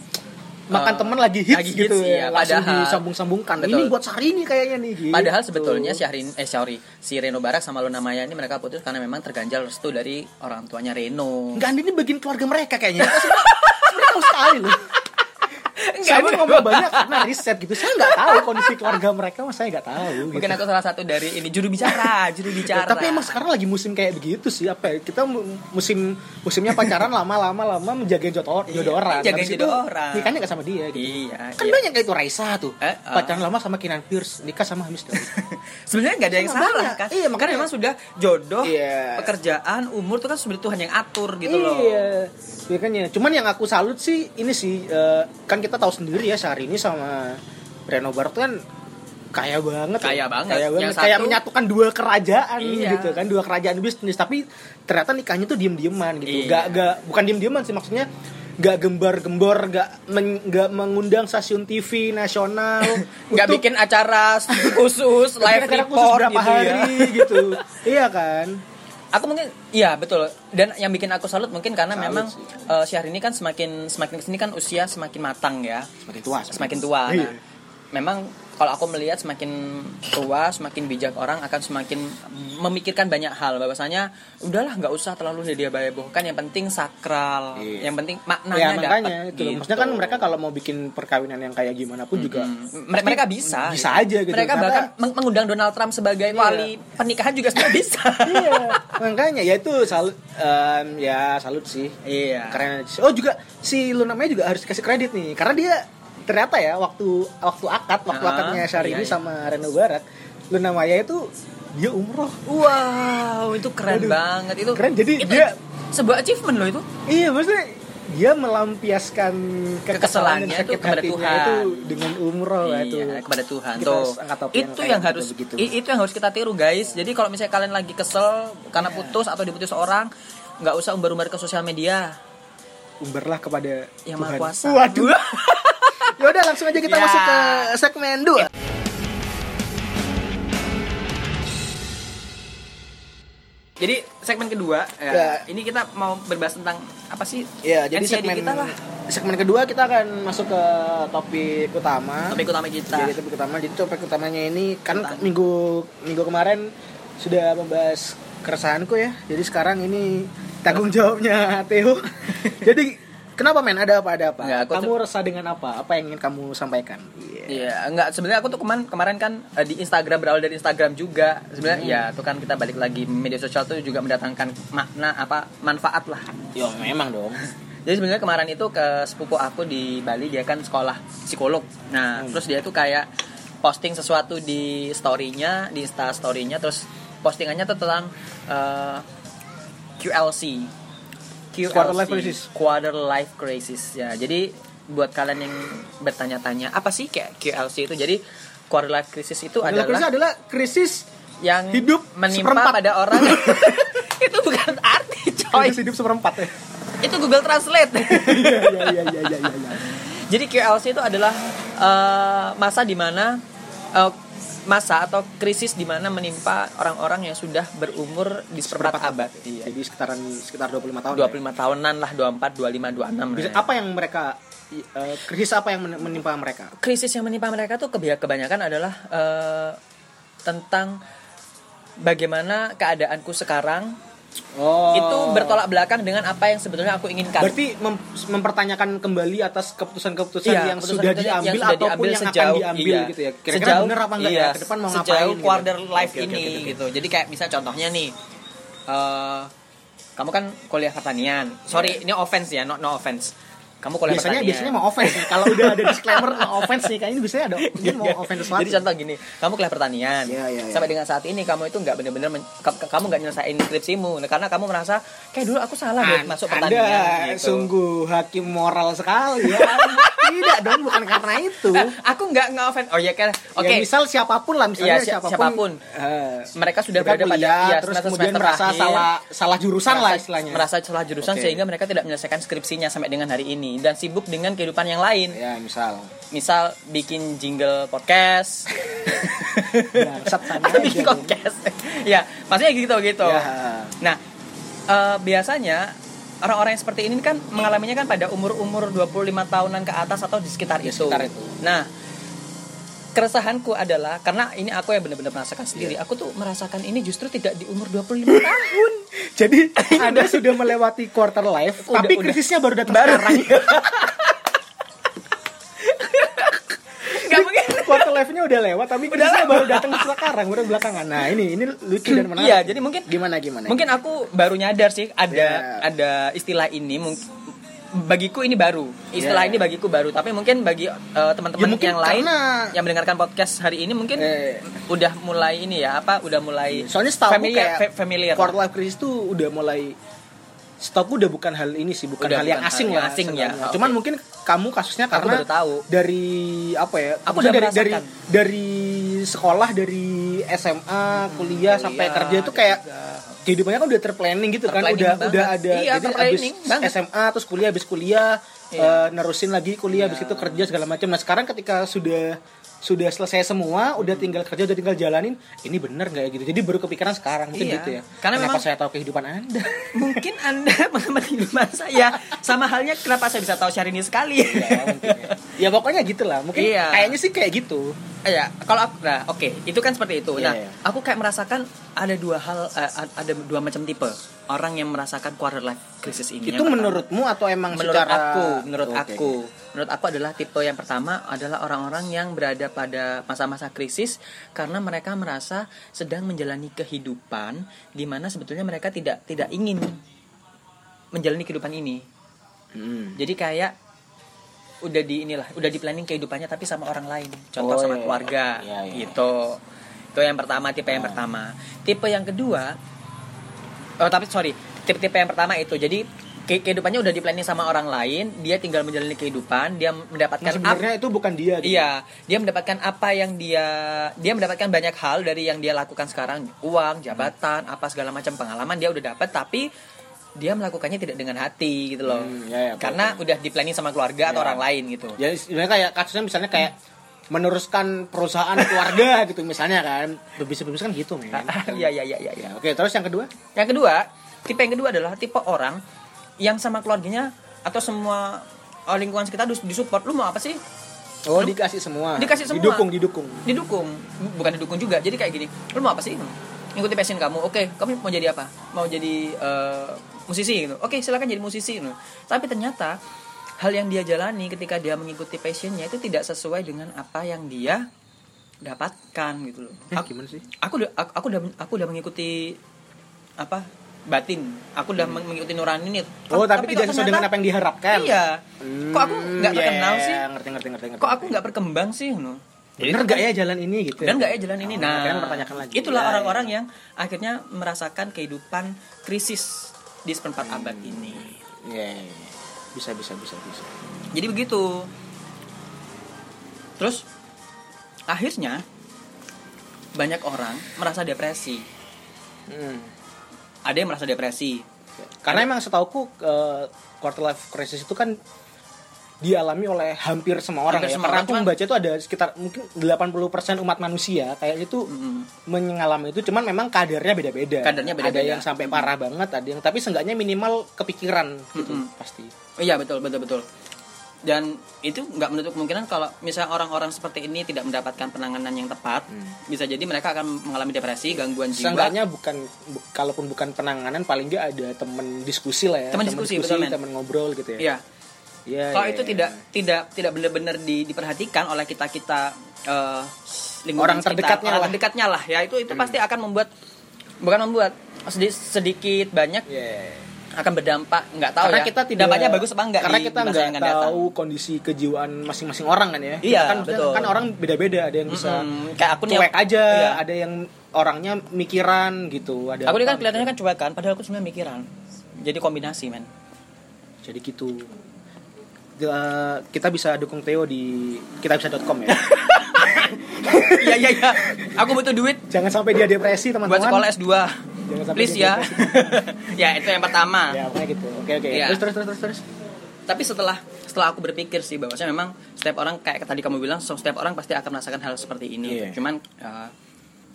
[SPEAKER 1] makan
[SPEAKER 2] Eh,
[SPEAKER 1] temen lagi hits
[SPEAKER 2] lagi
[SPEAKER 1] gitu
[SPEAKER 2] hits,
[SPEAKER 1] ya,
[SPEAKER 2] iya,
[SPEAKER 1] langsung
[SPEAKER 2] padahal-
[SPEAKER 1] disambung-sambungkan
[SPEAKER 2] Betul.
[SPEAKER 1] ini buat sehari ini kayaknya nih gitu.
[SPEAKER 2] Padahal sebetulnya Syahrin eh sorry, si Reno Barak sama Luna Maya ini mereka putus karena memang terganjal restu dari orang tuanya Reno.
[SPEAKER 1] nggak ini bagian keluarga mereka kayaknya Sebenarnya- sebenarnya tahu sekali loh saya
[SPEAKER 2] nggak
[SPEAKER 1] ini ngomong banyak karena riset gitu saya nggak tahu kondisi keluarga mereka mas saya nggak tahu gitu.
[SPEAKER 2] Mungkin aku salah satu dari ini juru bicara, juru bicara.
[SPEAKER 1] Iya, tapi emang sekarang lagi musim kayak begitu sih apa ya kita mu- musim musimnya pacaran lama-lama lama menjaga jodoh jodoh orang
[SPEAKER 2] Iya, menjaga
[SPEAKER 1] Habis
[SPEAKER 2] jodoh
[SPEAKER 1] itu
[SPEAKER 2] orang.
[SPEAKER 1] nikahnya nggak sama dia gitu
[SPEAKER 2] Iya.
[SPEAKER 1] kan
[SPEAKER 2] iya.
[SPEAKER 1] banyak kayak itu Raisa tuh
[SPEAKER 2] Eh, eh.
[SPEAKER 1] pacaran lama sama Kinan Pierce nikah sama Hamis Doi.
[SPEAKER 2] Sebenarnya nggak ada yang
[SPEAKER 1] Sama
[SPEAKER 2] salah
[SPEAKER 1] banyak.
[SPEAKER 2] kan?
[SPEAKER 1] Iya, makanya.
[SPEAKER 2] Karena memang sudah jodoh,
[SPEAKER 1] Iya.
[SPEAKER 2] pekerjaan, umur itu kan sebenarnya Tuhan yang atur gitu loh.
[SPEAKER 1] Iya, makanya. Cuman yang aku salut sih ini sih eh, kan kita tahu sendiri ya sehari ini sama Reno Barth kan kaya banget. ya.
[SPEAKER 2] Kaya banget.
[SPEAKER 1] Kaya
[SPEAKER 2] Yang
[SPEAKER 1] Kayak
[SPEAKER 2] satu-
[SPEAKER 1] menyatukan dua kerajaan
[SPEAKER 2] Iya.
[SPEAKER 1] gitu kan, dua kerajaan bisnis tapi ternyata nikahnya tuh diem-dieman gitu.
[SPEAKER 2] Iya.
[SPEAKER 1] Gak gak bukan diem-dieman sih maksudnya gak gembar-gembor, gak, men- gak mengundang stasiun TV nasional,
[SPEAKER 2] Nggak
[SPEAKER 1] untuk-
[SPEAKER 2] bikin acara khusus, live
[SPEAKER 1] acara khusus
[SPEAKER 2] report
[SPEAKER 1] berapa
[SPEAKER 2] gitu ya.
[SPEAKER 1] hari gitu. iya kan?
[SPEAKER 2] aku mungkin iya betul dan yang bikin aku salut mungkin karena
[SPEAKER 1] Salut
[SPEAKER 2] memang
[SPEAKER 1] sih.
[SPEAKER 2] eh, Syahrini ini kan semakin semakin kesini kan usia semakin matang ya
[SPEAKER 1] Semakin tua.
[SPEAKER 2] semakin tua
[SPEAKER 1] Iya.
[SPEAKER 2] Nah, memang kalau aku melihat semakin tua semakin bijak orang akan semakin memikirkan banyak hal bahwasanya udahlah nggak usah terlalu dia bahkan Kan yang penting sakral
[SPEAKER 1] Iya.
[SPEAKER 2] yang penting maknanya
[SPEAKER 1] ya
[SPEAKER 2] dapet,
[SPEAKER 1] makanya itu loh.
[SPEAKER 2] gitu.
[SPEAKER 1] maksudnya kan mereka kalau mau bikin perkawinan yang kayak gimana pun juga
[SPEAKER 2] M- mereka, Hmm. bisa
[SPEAKER 1] bisa
[SPEAKER 2] gitu. Iya.
[SPEAKER 1] aja gitu
[SPEAKER 2] mereka
[SPEAKER 1] Karena-
[SPEAKER 2] bahkan meng- mengundang Donald Trump sebagai wali pernikahan juga sudah bisa
[SPEAKER 1] iya makanya ya itu salut em, ya salut sih
[SPEAKER 2] iya
[SPEAKER 1] karena oh juga si Lunamnya juga harus kasih kredit nih karena dia ternyata ya waktu waktu akad waktu
[SPEAKER 2] Ah,
[SPEAKER 1] akadnya Syahrini
[SPEAKER 2] iya, iya.
[SPEAKER 1] sama Reno Barat Luna Maya itu dia umroh
[SPEAKER 2] Wow, itu keren
[SPEAKER 1] Aduh,
[SPEAKER 2] banget itu.
[SPEAKER 1] keren. Jadi
[SPEAKER 2] itu
[SPEAKER 1] dia-
[SPEAKER 2] sebuah achievement loh itu.
[SPEAKER 1] iya maksudnya dia melampiaskan kekesalan dan
[SPEAKER 2] Kekesalannya
[SPEAKER 1] sakit
[SPEAKER 2] tuh kepada
[SPEAKER 1] hatinya
[SPEAKER 2] Tuhan.
[SPEAKER 1] itu dengan umroh ya itu
[SPEAKER 2] Iya, kepada Tuhan
[SPEAKER 1] Kita
[SPEAKER 2] tuh.
[SPEAKER 1] harus angkat topi
[SPEAKER 2] Itu
[SPEAKER 1] yang
[SPEAKER 2] yang
[SPEAKER 1] kayak
[SPEAKER 2] harus
[SPEAKER 1] begitu.
[SPEAKER 2] i- itu yang harus kita tiru, guys. Jadi kalau misalnya kalian lagi kesel karena putus atau diputus orang, nggak usah umbar-umbar ke sosial media
[SPEAKER 1] umbarlah kepada
[SPEAKER 2] yang
[SPEAKER 1] Tuhan
[SPEAKER 2] maha kuasa.
[SPEAKER 1] waduh ya udah langsung aja kita
[SPEAKER 2] Ya.
[SPEAKER 1] masuk ke segmen 2
[SPEAKER 2] Jadi segmen kedua, ya,
[SPEAKER 1] Ya.
[SPEAKER 2] ini kita mau berbahas tentang apa sih?
[SPEAKER 1] ya jadi
[SPEAKER 2] NCD
[SPEAKER 1] segmen
[SPEAKER 2] kita lah.
[SPEAKER 1] segmen kedua kita akan masuk ke topik utama
[SPEAKER 2] Topik utama kita.
[SPEAKER 1] jadi topik utama jadi topik utamanya ini kan
[SPEAKER 2] Utama.
[SPEAKER 1] minggu minggu kemarin sudah membahas keresahanku ya jadi sekarang ini tanggung jawabnya Theo jadi kenapa men ada apa ada apa
[SPEAKER 2] Nggak, aku
[SPEAKER 1] kamu resah dengan apa apa yang ingin kamu sampaikan Iya.
[SPEAKER 2] Iya, enggak sebenarnya aku tuh kemarin kemarin kan eh, di Instagram berawal dari Instagram juga. Sebenarnya ya tuh kan kita balik lagi media sosial tuh juga mendatangkan makna apa manfaat lah.
[SPEAKER 1] ya memang dong
[SPEAKER 2] Jadi sebenarnya kemarin itu ke sepupu aku di Bali dia kan sekolah psikolog.
[SPEAKER 1] Hmm.
[SPEAKER 2] Nah, terus dia tuh kayak posting sesuatu di story-nya, di Insta story-nya terus postingannya tuh tentang eh, QLC. QLC
[SPEAKER 1] Quarter life crisis.
[SPEAKER 2] Quarter life crisis. Ya, jadi buat kalian yang bertanya-tanya apa sih kayak QLC itu? Jadi quarter life crisis itu
[SPEAKER 1] adalah krisis
[SPEAKER 2] adalah
[SPEAKER 1] adalah krisis
[SPEAKER 2] yang
[SPEAKER 1] hidup
[SPEAKER 2] menimpa
[SPEAKER 1] seperempat.
[SPEAKER 2] pada orang itu bukan arti coy
[SPEAKER 1] krisis hidup seperempat ya
[SPEAKER 2] itu Google Translate
[SPEAKER 1] Iya, iya, iya, iya, iya, iya.
[SPEAKER 2] Jadi QLC itu adalah eh, masa di mana eh, masa atau krisis di mana menimpa orang-orang yang sudah berumur di seperempat abad. Iya.
[SPEAKER 1] Jadi sekitaran sekitar 25 tahun.
[SPEAKER 2] 25 tahunan lah, 24, 25, 26.
[SPEAKER 1] Bisa-
[SPEAKER 2] lah ya.
[SPEAKER 1] Apa yang mereka i- eh, krisis apa yang men- menimpa mereka?
[SPEAKER 2] Krisis yang menimpa mereka tuh kebia- kebanyakan adalah eh, tentang bagaimana keadaanku sekarang
[SPEAKER 1] Oh.
[SPEAKER 2] itu bertolak belakang dengan apa yang sebetulnya aku inginkan.
[SPEAKER 1] Berarti mem- mempertanyakan kembali atas keputusan-keputusan
[SPEAKER 2] Iya,
[SPEAKER 1] yang
[SPEAKER 2] keputusan
[SPEAKER 1] sudah
[SPEAKER 2] keputusan yang
[SPEAKER 1] diambil
[SPEAKER 2] sudah
[SPEAKER 1] ataupun
[SPEAKER 2] diambil
[SPEAKER 1] yang
[SPEAKER 2] sejauh-
[SPEAKER 1] akan diambil
[SPEAKER 2] iya.
[SPEAKER 1] gitu ya. Kira-kira
[SPEAKER 2] Sejauh-
[SPEAKER 1] bener apa enggak
[SPEAKER 2] iya,
[SPEAKER 1] ya ke depan mau
[SPEAKER 2] sejauh
[SPEAKER 1] ngapain gitu.
[SPEAKER 2] quarter life
[SPEAKER 1] Oke, oke,
[SPEAKER 2] ini
[SPEAKER 1] oke, oke.
[SPEAKER 2] gitu. Jadi kayak bisa contohnya nih eh kamu kan kuliah pertanian. Sorry, ini offense ya, no, no offense. Kamu
[SPEAKER 1] Iya.
[SPEAKER 2] kuliah
[SPEAKER 1] Biasanya
[SPEAKER 2] pertanian.
[SPEAKER 1] biasanya mau offense nih. Kalau udah ada disclaimer no offense nih. Kayaknya biasanya ada ini mau offense sesuatu.
[SPEAKER 2] Iya. Jadi contoh gini, kamu kuliah
[SPEAKER 1] Iya,
[SPEAKER 2] pertanian.
[SPEAKER 1] iya, iya.
[SPEAKER 2] Sampai dengan saat ini kamu itu nggak benar-benar men- ka- ka- kamu nggak nyelesain skripsimu Nah, karena kamu merasa kayak dulu aku salah deh
[SPEAKER 1] An-
[SPEAKER 2] masuk
[SPEAKER 1] Nah, Anda
[SPEAKER 2] pertanian gitu.
[SPEAKER 1] sungguh hakim moral sekali ya. Tidak dong, bukan karena itu.
[SPEAKER 2] Eh, aku nggak nge-offense. Oh iya kan. Oke.
[SPEAKER 1] Ya, misal siapapun lah, misalnya
[SPEAKER 2] Iya, si-
[SPEAKER 1] siapapun.
[SPEAKER 2] siapapun.
[SPEAKER 1] eh,
[SPEAKER 2] mereka sudah
[SPEAKER 1] mereka
[SPEAKER 2] berada pada
[SPEAKER 1] kuliah,
[SPEAKER 2] iya,
[SPEAKER 1] terus
[SPEAKER 2] semester-
[SPEAKER 1] kemudian
[SPEAKER 2] semester
[SPEAKER 1] merasa
[SPEAKER 2] akhir.
[SPEAKER 1] salah salah jurusan lah
[SPEAKER 2] merasa-
[SPEAKER 1] istilahnya.
[SPEAKER 2] merasa celah jurusan
[SPEAKER 1] Oke.
[SPEAKER 2] sehingga mereka tidak menyelesaikan skripsinya sampai dengan hari ini dan sibuk dengan kehidupan yang lain
[SPEAKER 1] ya misal.
[SPEAKER 2] misal bikin jingle podcast
[SPEAKER 1] Bangsat, sama
[SPEAKER 2] atau bikin
[SPEAKER 1] aja dong.
[SPEAKER 2] podcast ya maksudnya gitu gitu
[SPEAKER 1] Ya.
[SPEAKER 2] nah eh, biasanya orang-orang yang seperti ini kan mengalaminya kan pada umur-umur 25 tahunan ke atas atau di sekitar,
[SPEAKER 1] Di
[SPEAKER 2] itu.
[SPEAKER 1] sekitar itu.
[SPEAKER 2] nah keresahanku adalah karena ini aku yang benar-benar merasakan sendiri
[SPEAKER 1] Iya.
[SPEAKER 2] aku tuh merasakan ini justru tidak di umur 25 tahun
[SPEAKER 1] Jadi Anda sudah melewati quarter life,
[SPEAKER 2] Udah,
[SPEAKER 1] tapi
[SPEAKER 2] udah.
[SPEAKER 1] krisisnya baru datang
[SPEAKER 2] Baru.
[SPEAKER 1] sekarang. live-nya udah lewat tapi krisnya baru datang sekarang baru belakangan nah ini ini lucu dan menarik
[SPEAKER 2] Iya, jadi mungkin
[SPEAKER 1] gimana gimana
[SPEAKER 2] mungkin aku baru nyadar sih ada
[SPEAKER 1] Ya.
[SPEAKER 2] ada istilah ini mungkin bagiku ini baru istilah
[SPEAKER 1] Ya.
[SPEAKER 2] ini bagiku baru tapi mungkin bagi eh,
[SPEAKER 1] Ya,
[SPEAKER 2] teman-teman
[SPEAKER 1] mungkin
[SPEAKER 2] yang lain
[SPEAKER 1] karena-
[SPEAKER 2] yang mendengarkan podcast hari ini mungkin
[SPEAKER 1] Eh.
[SPEAKER 2] udah mulai ini ya apa udah mulai
[SPEAKER 1] Iya. soalnya setahu aku
[SPEAKER 2] familiar
[SPEAKER 1] kayak
[SPEAKER 2] fa- familiar
[SPEAKER 1] quarter life crisis tuh udah mulai setahu aku udah bukan hal ini sih bukan
[SPEAKER 2] Udah
[SPEAKER 1] hal yang
[SPEAKER 2] bukan
[SPEAKER 1] asing
[SPEAKER 2] hal yang
[SPEAKER 1] lah
[SPEAKER 2] asing ya.
[SPEAKER 1] sebenarnya.
[SPEAKER 2] Oke.
[SPEAKER 1] cuman mungkin kamu kasusnya
[SPEAKER 2] Aku
[SPEAKER 1] karena
[SPEAKER 2] baru tahu.
[SPEAKER 1] dari apa ya
[SPEAKER 2] Aku
[SPEAKER 1] maksudnya
[SPEAKER 2] udah
[SPEAKER 1] dari, dari
[SPEAKER 2] merasakan. Hmm,
[SPEAKER 1] dari sekolah dari SMA kuliah, sampai
[SPEAKER 2] kuliah, gitu
[SPEAKER 1] kerja itu kayak kehidupannya kan udah terplanning gitu kan
[SPEAKER 2] Terplanning
[SPEAKER 1] udah
[SPEAKER 2] banget.
[SPEAKER 1] udah ada
[SPEAKER 2] Iya,
[SPEAKER 1] jadi abis
[SPEAKER 2] terplanning banget.
[SPEAKER 1] SMA terus kuliah habis kuliah
[SPEAKER 2] Iya.
[SPEAKER 1] eh, nerusin lagi kuliah habis itu kerja segala macam nah sekarang ketika sudah sudah selesai semua udah
[SPEAKER 2] Hmm.
[SPEAKER 1] tinggal kerja udah tinggal jalanin ini bener nggak ya gitu jadi baru kepikiran sekarang mungkin
[SPEAKER 2] Iya.
[SPEAKER 1] gitu ya
[SPEAKER 2] Karena
[SPEAKER 1] kenapa
[SPEAKER 2] memang-
[SPEAKER 1] saya tahu kehidupan anda
[SPEAKER 2] mungkin anda mengamati kehidupan saya sama halnya kenapa saya bisa tahu Syahrini sekali
[SPEAKER 1] Iya. ya pokoknya gitulah mungkin
[SPEAKER 2] Iya.
[SPEAKER 1] kayaknya sih kayak gitu
[SPEAKER 2] ya kalau aku nah oke itu kan seperti itu
[SPEAKER 1] Iya,
[SPEAKER 2] nah
[SPEAKER 1] iya.
[SPEAKER 2] aku kayak merasakan ada dua hal eh, ad- ada dua macam tipe orang yang merasakan quarter life crisis ini
[SPEAKER 1] itu
[SPEAKER 2] Yang pertama-
[SPEAKER 1] menurutmu atau emang
[SPEAKER 2] Iya, menurut
[SPEAKER 1] secara
[SPEAKER 2] aku menurut
[SPEAKER 1] Oke.
[SPEAKER 2] aku menurut aku adalah tipe yang pertama adalah orang-orang yang berada pada masa-masa krisis karena mereka merasa sedang menjalani kehidupan di mana sebetulnya mereka tidak tidak ingin menjalani kehidupan ini
[SPEAKER 1] Hmm.
[SPEAKER 2] jadi kayak udah di inilah udah di planning kehidupannya tapi sama orang lain
[SPEAKER 1] Oh,
[SPEAKER 2] contoh sama
[SPEAKER 1] iya.
[SPEAKER 2] keluarga
[SPEAKER 1] Iya, Ah. iya.
[SPEAKER 2] gitu itu yang pertama tipe yang pertama tipe yang kedua oh tapi sorry tipe-tipe yang pertama itu jadi ke- kehidupannya udah di planning sama orang lain dia tinggal menjalani kehidupan dia
[SPEAKER 1] nah,
[SPEAKER 2] mendapatkan apa
[SPEAKER 1] sebenarnya itu bukan dia gitu.
[SPEAKER 2] Iya, dia mendapatkan apa yang dia dia mendapatkan banyak hal dari yang dia lakukan
[SPEAKER 1] Hmm.
[SPEAKER 2] sekarang, uang, jabatan, apa segala macam pengalaman dia udah dapat tapi dia melakukannya tidak dengan hati gitu loh.
[SPEAKER 1] Hmm, ya, ya,
[SPEAKER 2] Karena udah di planning sama keluarga atau
[SPEAKER 1] Ya.
[SPEAKER 2] orang lain gitu.
[SPEAKER 1] Jadi sebenarnya kayak kasusnya misalnya kayak meneruskan perusahaan keluarga gitu misalnya kan. Bisa bisa kan gitu men.
[SPEAKER 2] Iya, iya, iya, iya,
[SPEAKER 1] Ya,
[SPEAKER 2] iya.
[SPEAKER 1] Oke, terus yang kedua?
[SPEAKER 2] Yang kedua, tipe yang kedua adalah tipe orang yang sama keluarganya atau semua oh, lingkungan sekitar dus- disupport lu mau apa sih?
[SPEAKER 1] Oh, dikasih semua.
[SPEAKER 2] Dikasih semua.
[SPEAKER 1] Didukung, didukung.
[SPEAKER 2] didukung bukan didukung juga jadi kayak gini lu mau apa sih ngikutin passion kamu oke kamu mau jadi apa mau jadi eh, musisi gitu oke silakan jadi musisi gitu. tapi ternyata hal yang dia jalani ketika dia mengikuti passionnya itu tidak sesuai dengan apa yang dia dapatkan gitu loh
[SPEAKER 1] Eh,
[SPEAKER 2] aku,
[SPEAKER 1] gimana sih?
[SPEAKER 2] aku udah aku, aku udah aku udah mengikuti apa batin aku udah mengikuti nurani nih
[SPEAKER 1] Hmm. Oh, tapi,
[SPEAKER 2] kok
[SPEAKER 1] tidak sesuai dengan apa yang diharapkan.
[SPEAKER 2] ternyata- iya
[SPEAKER 1] Hmm,
[SPEAKER 2] kok aku nggak
[SPEAKER 1] iya,
[SPEAKER 2] terkenal
[SPEAKER 1] iya,
[SPEAKER 2] sih
[SPEAKER 1] iya, Ngerti, ngerti, ngerti, ngerti.
[SPEAKER 2] kok aku nggak berkembang sih gitu.
[SPEAKER 1] Bener nggak ya jalan ini gitu.
[SPEAKER 2] Dan nggak ya jalan
[SPEAKER 1] Oh,
[SPEAKER 2] ini. Nah,
[SPEAKER 1] makanya mempertanyakan lagi.
[SPEAKER 2] itulah
[SPEAKER 1] Ya,
[SPEAKER 2] orang-orang
[SPEAKER 1] ya.
[SPEAKER 2] yang akhirnya merasakan kehidupan krisis di seperempat
[SPEAKER 1] Hmm.
[SPEAKER 2] abad ini.
[SPEAKER 1] Iya, iya, iya. Bisa, bisa, bisa, bisa.
[SPEAKER 2] Jadi begitu. Terus akhirnya banyak orang merasa depresi.
[SPEAKER 1] Hmm.
[SPEAKER 2] Ada yang merasa depresi.
[SPEAKER 1] Karena emang setauku eh, quarter life crisis itu kan dialami oleh hampir semua orang
[SPEAKER 2] Hampir
[SPEAKER 1] ya.
[SPEAKER 2] semua
[SPEAKER 1] Karena
[SPEAKER 2] orang,
[SPEAKER 1] aku
[SPEAKER 2] cuman-
[SPEAKER 1] membaca itu ada sekitar mungkin 80% umat manusia kayak itu
[SPEAKER 2] Mm-mm.
[SPEAKER 1] mengalami itu cuman memang kadarnya beda-beda.
[SPEAKER 2] Kadarnya beda-beda.
[SPEAKER 1] Ada yang sampai parah banget, ada yang tapi seenggaknya minimal kepikiran gitu
[SPEAKER 2] Mm-mm.
[SPEAKER 1] pasti.
[SPEAKER 2] Iya betul betul betul. Dan itu nggak menutup kemungkinan kalau misalnya orang-orang seperti ini tidak mendapatkan penanganan yang tepat, bisa jadi mereka akan mengalami depresi, gangguan jiwa,
[SPEAKER 1] Hmm. Seenggaknya bukan bu- kalaupun bukan penanganan paling nggak ada temen diskusi lah ya.
[SPEAKER 2] Temen diskusi, betul, men.
[SPEAKER 1] temen ngobrol gitu ya.
[SPEAKER 2] Iya.
[SPEAKER 1] Iya.
[SPEAKER 2] Kalau
[SPEAKER 1] iya,
[SPEAKER 2] itu
[SPEAKER 1] iya.
[SPEAKER 2] tidak tidak tidak benar-benar di- diperhatikan oleh kita kita eh, lingkungan
[SPEAKER 1] Orang
[SPEAKER 2] sekitar,
[SPEAKER 1] terdekatnya
[SPEAKER 2] orang
[SPEAKER 1] lah. Hmm.
[SPEAKER 2] terdekatnya lah ya itu itu pasti akan membuat bukan membuat sedi- sedikit banyak
[SPEAKER 1] Iya, iya, iya.
[SPEAKER 2] akan berdampak nggak tahu
[SPEAKER 1] karena
[SPEAKER 2] ya.
[SPEAKER 1] kita tidak
[SPEAKER 2] dampaknya bagus apa enggak
[SPEAKER 1] karena
[SPEAKER 2] di-
[SPEAKER 1] kita
[SPEAKER 2] di masa
[SPEAKER 1] nggak
[SPEAKER 2] yang akan datang.
[SPEAKER 1] tahu kondisi kejiwaan masing-masing orang kan ya
[SPEAKER 2] Iya,
[SPEAKER 1] kan maksudnya
[SPEAKER 2] betul.
[SPEAKER 1] kan orang beda-beda ada yang bisa
[SPEAKER 2] Mm, kayak aku nih
[SPEAKER 1] cuek aja
[SPEAKER 2] iya.
[SPEAKER 1] ada yang orangnya mikiran gitu ada
[SPEAKER 2] aku ini
[SPEAKER 1] apa
[SPEAKER 2] kan kelihatannya kan cuek kan padahal aku sebenarnya mikiran jadi kombinasi men
[SPEAKER 1] gitu. jadi gitu Eh, kita bisa dukung Theo di kita bisa.com ya
[SPEAKER 2] iya iya iya aku butuh duit
[SPEAKER 1] jangan sampai dia depresi
[SPEAKER 2] buat sekolah
[SPEAKER 1] teman-teman
[SPEAKER 2] S2
[SPEAKER 1] Jangan sampai
[SPEAKER 2] please
[SPEAKER 1] dia
[SPEAKER 2] ya ya itu yang pertama
[SPEAKER 1] ya pokoknya gitu oke oke
[SPEAKER 2] Iya.
[SPEAKER 1] terus terus terus terus terus
[SPEAKER 2] tapi setelah setelah aku berpikir sih bahwasanya memang setiap orang kayak tadi kamu bilang so- setiap orang pasti akan merasakan hal seperti ini
[SPEAKER 1] Iya.
[SPEAKER 2] cuman eh,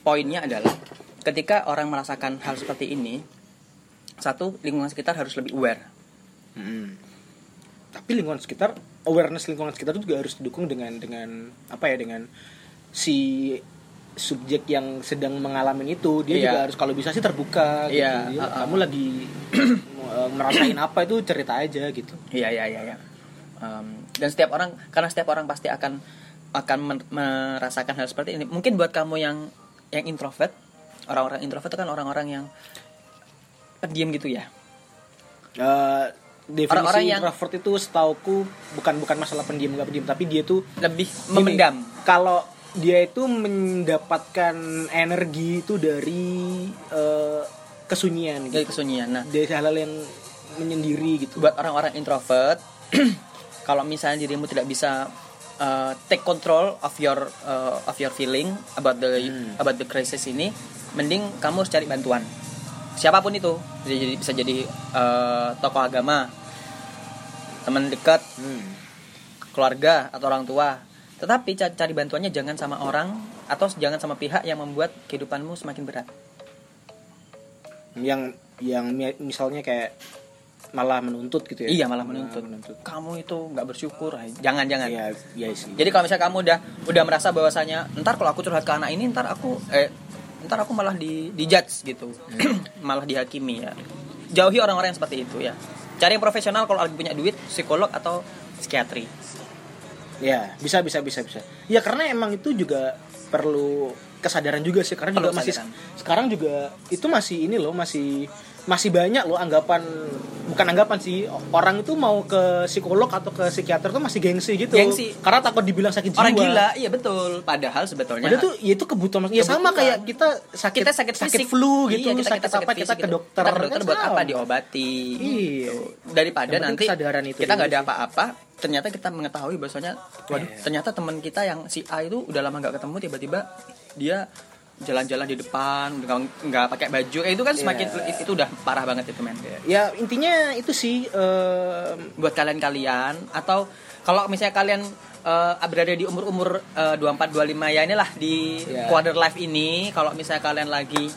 [SPEAKER 2] poinnya adalah ketika orang merasakan hal seperti ini satu lingkungan sekitar harus lebih aware
[SPEAKER 1] Mm-mm. Tapi lingkungan sekitar awareness lingkungan sekitar itu juga harus didukung dengan dengan apa ya dengan si subjek yang sedang mengalami itu dia
[SPEAKER 2] Iya.
[SPEAKER 1] juga harus kalau bisa sih terbuka
[SPEAKER 2] Iya,
[SPEAKER 1] gitu. Dia,
[SPEAKER 2] uh-uh.
[SPEAKER 1] Kamu lagi eh, merasain apa itu cerita aja gitu.
[SPEAKER 2] iya iya iya iya. Em, dan setiap orang karena setiap orang pasti akan akan men- merasakan hal seperti ini. Mungkin buat kamu yang yang introvert, orang-orang introvert itu kan orang-orang yang pendiam gitu ya.
[SPEAKER 1] Eh, definisi
[SPEAKER 2] Orang-orang yang-
[SPEAKER 1] introvert itu setauku bukan bukan masalah pendiam nggak pendiam tapi dia tuh
[SPEAKER 2] Lebih
[SPEAKER 1] gini,
[SPEAKER 2] memendam.
[SPEAKER 1] kalau dia itu mendapatkan energi itu dari eh, kesunyian
[SPEAKER 2] Dari
[SPEAKER 1] gitu.
[SPEAKER 2] kesunyian. Nah,
[SPEAKER 1] dari hal-hal yang menyendiri gitu
[SPEAKER 2] buat orang-orang introvert kalau misalnya dirimu tidak bisa uh, take control of your uh, of your feeling about the about the crisis ini mending kamu harus cari bantuan siapapun itu bisa jadi bisa jadi uh, tokoh agama teman dekat
[SPEAKER 1] Hmm.
[SPEAKER 2] keluarga atau orang tua tetapi ca- cari bantuannya jangan sama orang atau jangan sama pihak yang membuat kehidupanmu semakin berat
[SPEAKER 1] yang yang mi- misalnya kayak malah menuntut gitu ya
[SPEAKER 2] iya malah menuntut, kamu itu nggak bersyukur ay. jangan jangan
[SPEAKER 1] Iya, iya sih
[SPEAKER 2] Jadi kalau misalnya kamu udah udah merasa bahwasanya ntar kalau aku curhat ke anak ini ntar aku eh ntar aku malah di dijudge gitu. malah dihakimi ya. Jauhi orang-orang yang seperti itu ya. Cari yang profesional kalau lagi punya duit, psikolog atau psikiatri.
[SPEAKER 1] Ya, bisa bisa bisa bisa. Ya karena emang itu juga perlu kesadaran juga sih karena
[SPEAKER 2] Perlu
[SPEAKER 1] juga masih
[SPEAKER 2] kesadaran.
[SPEAKER 1] sekarang juga itu masih ini loh masih masih banyak loh anggapan bukan anggapan sih orang itu mau ke psikolog atau ke psikiater tuh masih gengsi gitu.
[SPEAKER 2] Gengsi.
[SPEAKER 1] Karena takut dibilang sakit jiwa.
[SPEAKER 2] Orang gila, iya betul. Padahal sebetulnya
[SPEAKER 1] Padahal tuh ya itu kebutuhan. Ya sama
[SPEAKER 2] Kebutuhan.
[SPEAKER 1] kayak kita sakit
[SPEAKER 2] kita sakit fisik.
[SPEAKER 1] flu gitu,
[SPEAKER 2] Iya, kita,
[SPEAKER 1] sakit,
[SPEAKER 2] kita sakit
[SPEAKER 1] apa kita
[SPEAKER 2] fisik
[SPEAKER 1] ke
[SPEAKER 2] gitu.
[SPEAKER 1] dokter.
[SPEAKER 2] Kita ke dokter
[SPEAKER 1] Kan
[SPEAKER 2] buat
[SPEAKER 1] sama.
[SPEAKER 2] apa diobati.
[SPEAKER 1] Iya.
[SPEAKER 2] gitu. Daripada
[SPEAKER 1] Yang penting
[SPEAKER 2] nanti
[SPEAKER 1] kesadaran itu
[SPEAKER 2] kita nggak
[SPEAKER 1] dulu
[SPEAKER 2] ada apa-apa, ternyata kita mengetahui bahwasanya waduh,
[SPEAKER 1] Iya.
[SPEAKER 2] ternyata teman kita yang si A itu udah lama nggak ketemu tiba-tiba dia jalan-jalan di depan nggak- nggak pakai baju eh, itu kan semakin
[SPEAKER 1] Iya.
[SPEAKER 2] itu udah parah banget itu men
[SPEAKER 1] Ya intinya itu sih em,
[SPEAKER 2] buat kalian-kalian atau kalau misalnya kalian eh, berada di umur-umur eh, 24 25 ya inilah di
[SPEAKER 1] Ya.
[SPEAKER 2] quarter life ini kalau misalnya kalian lagi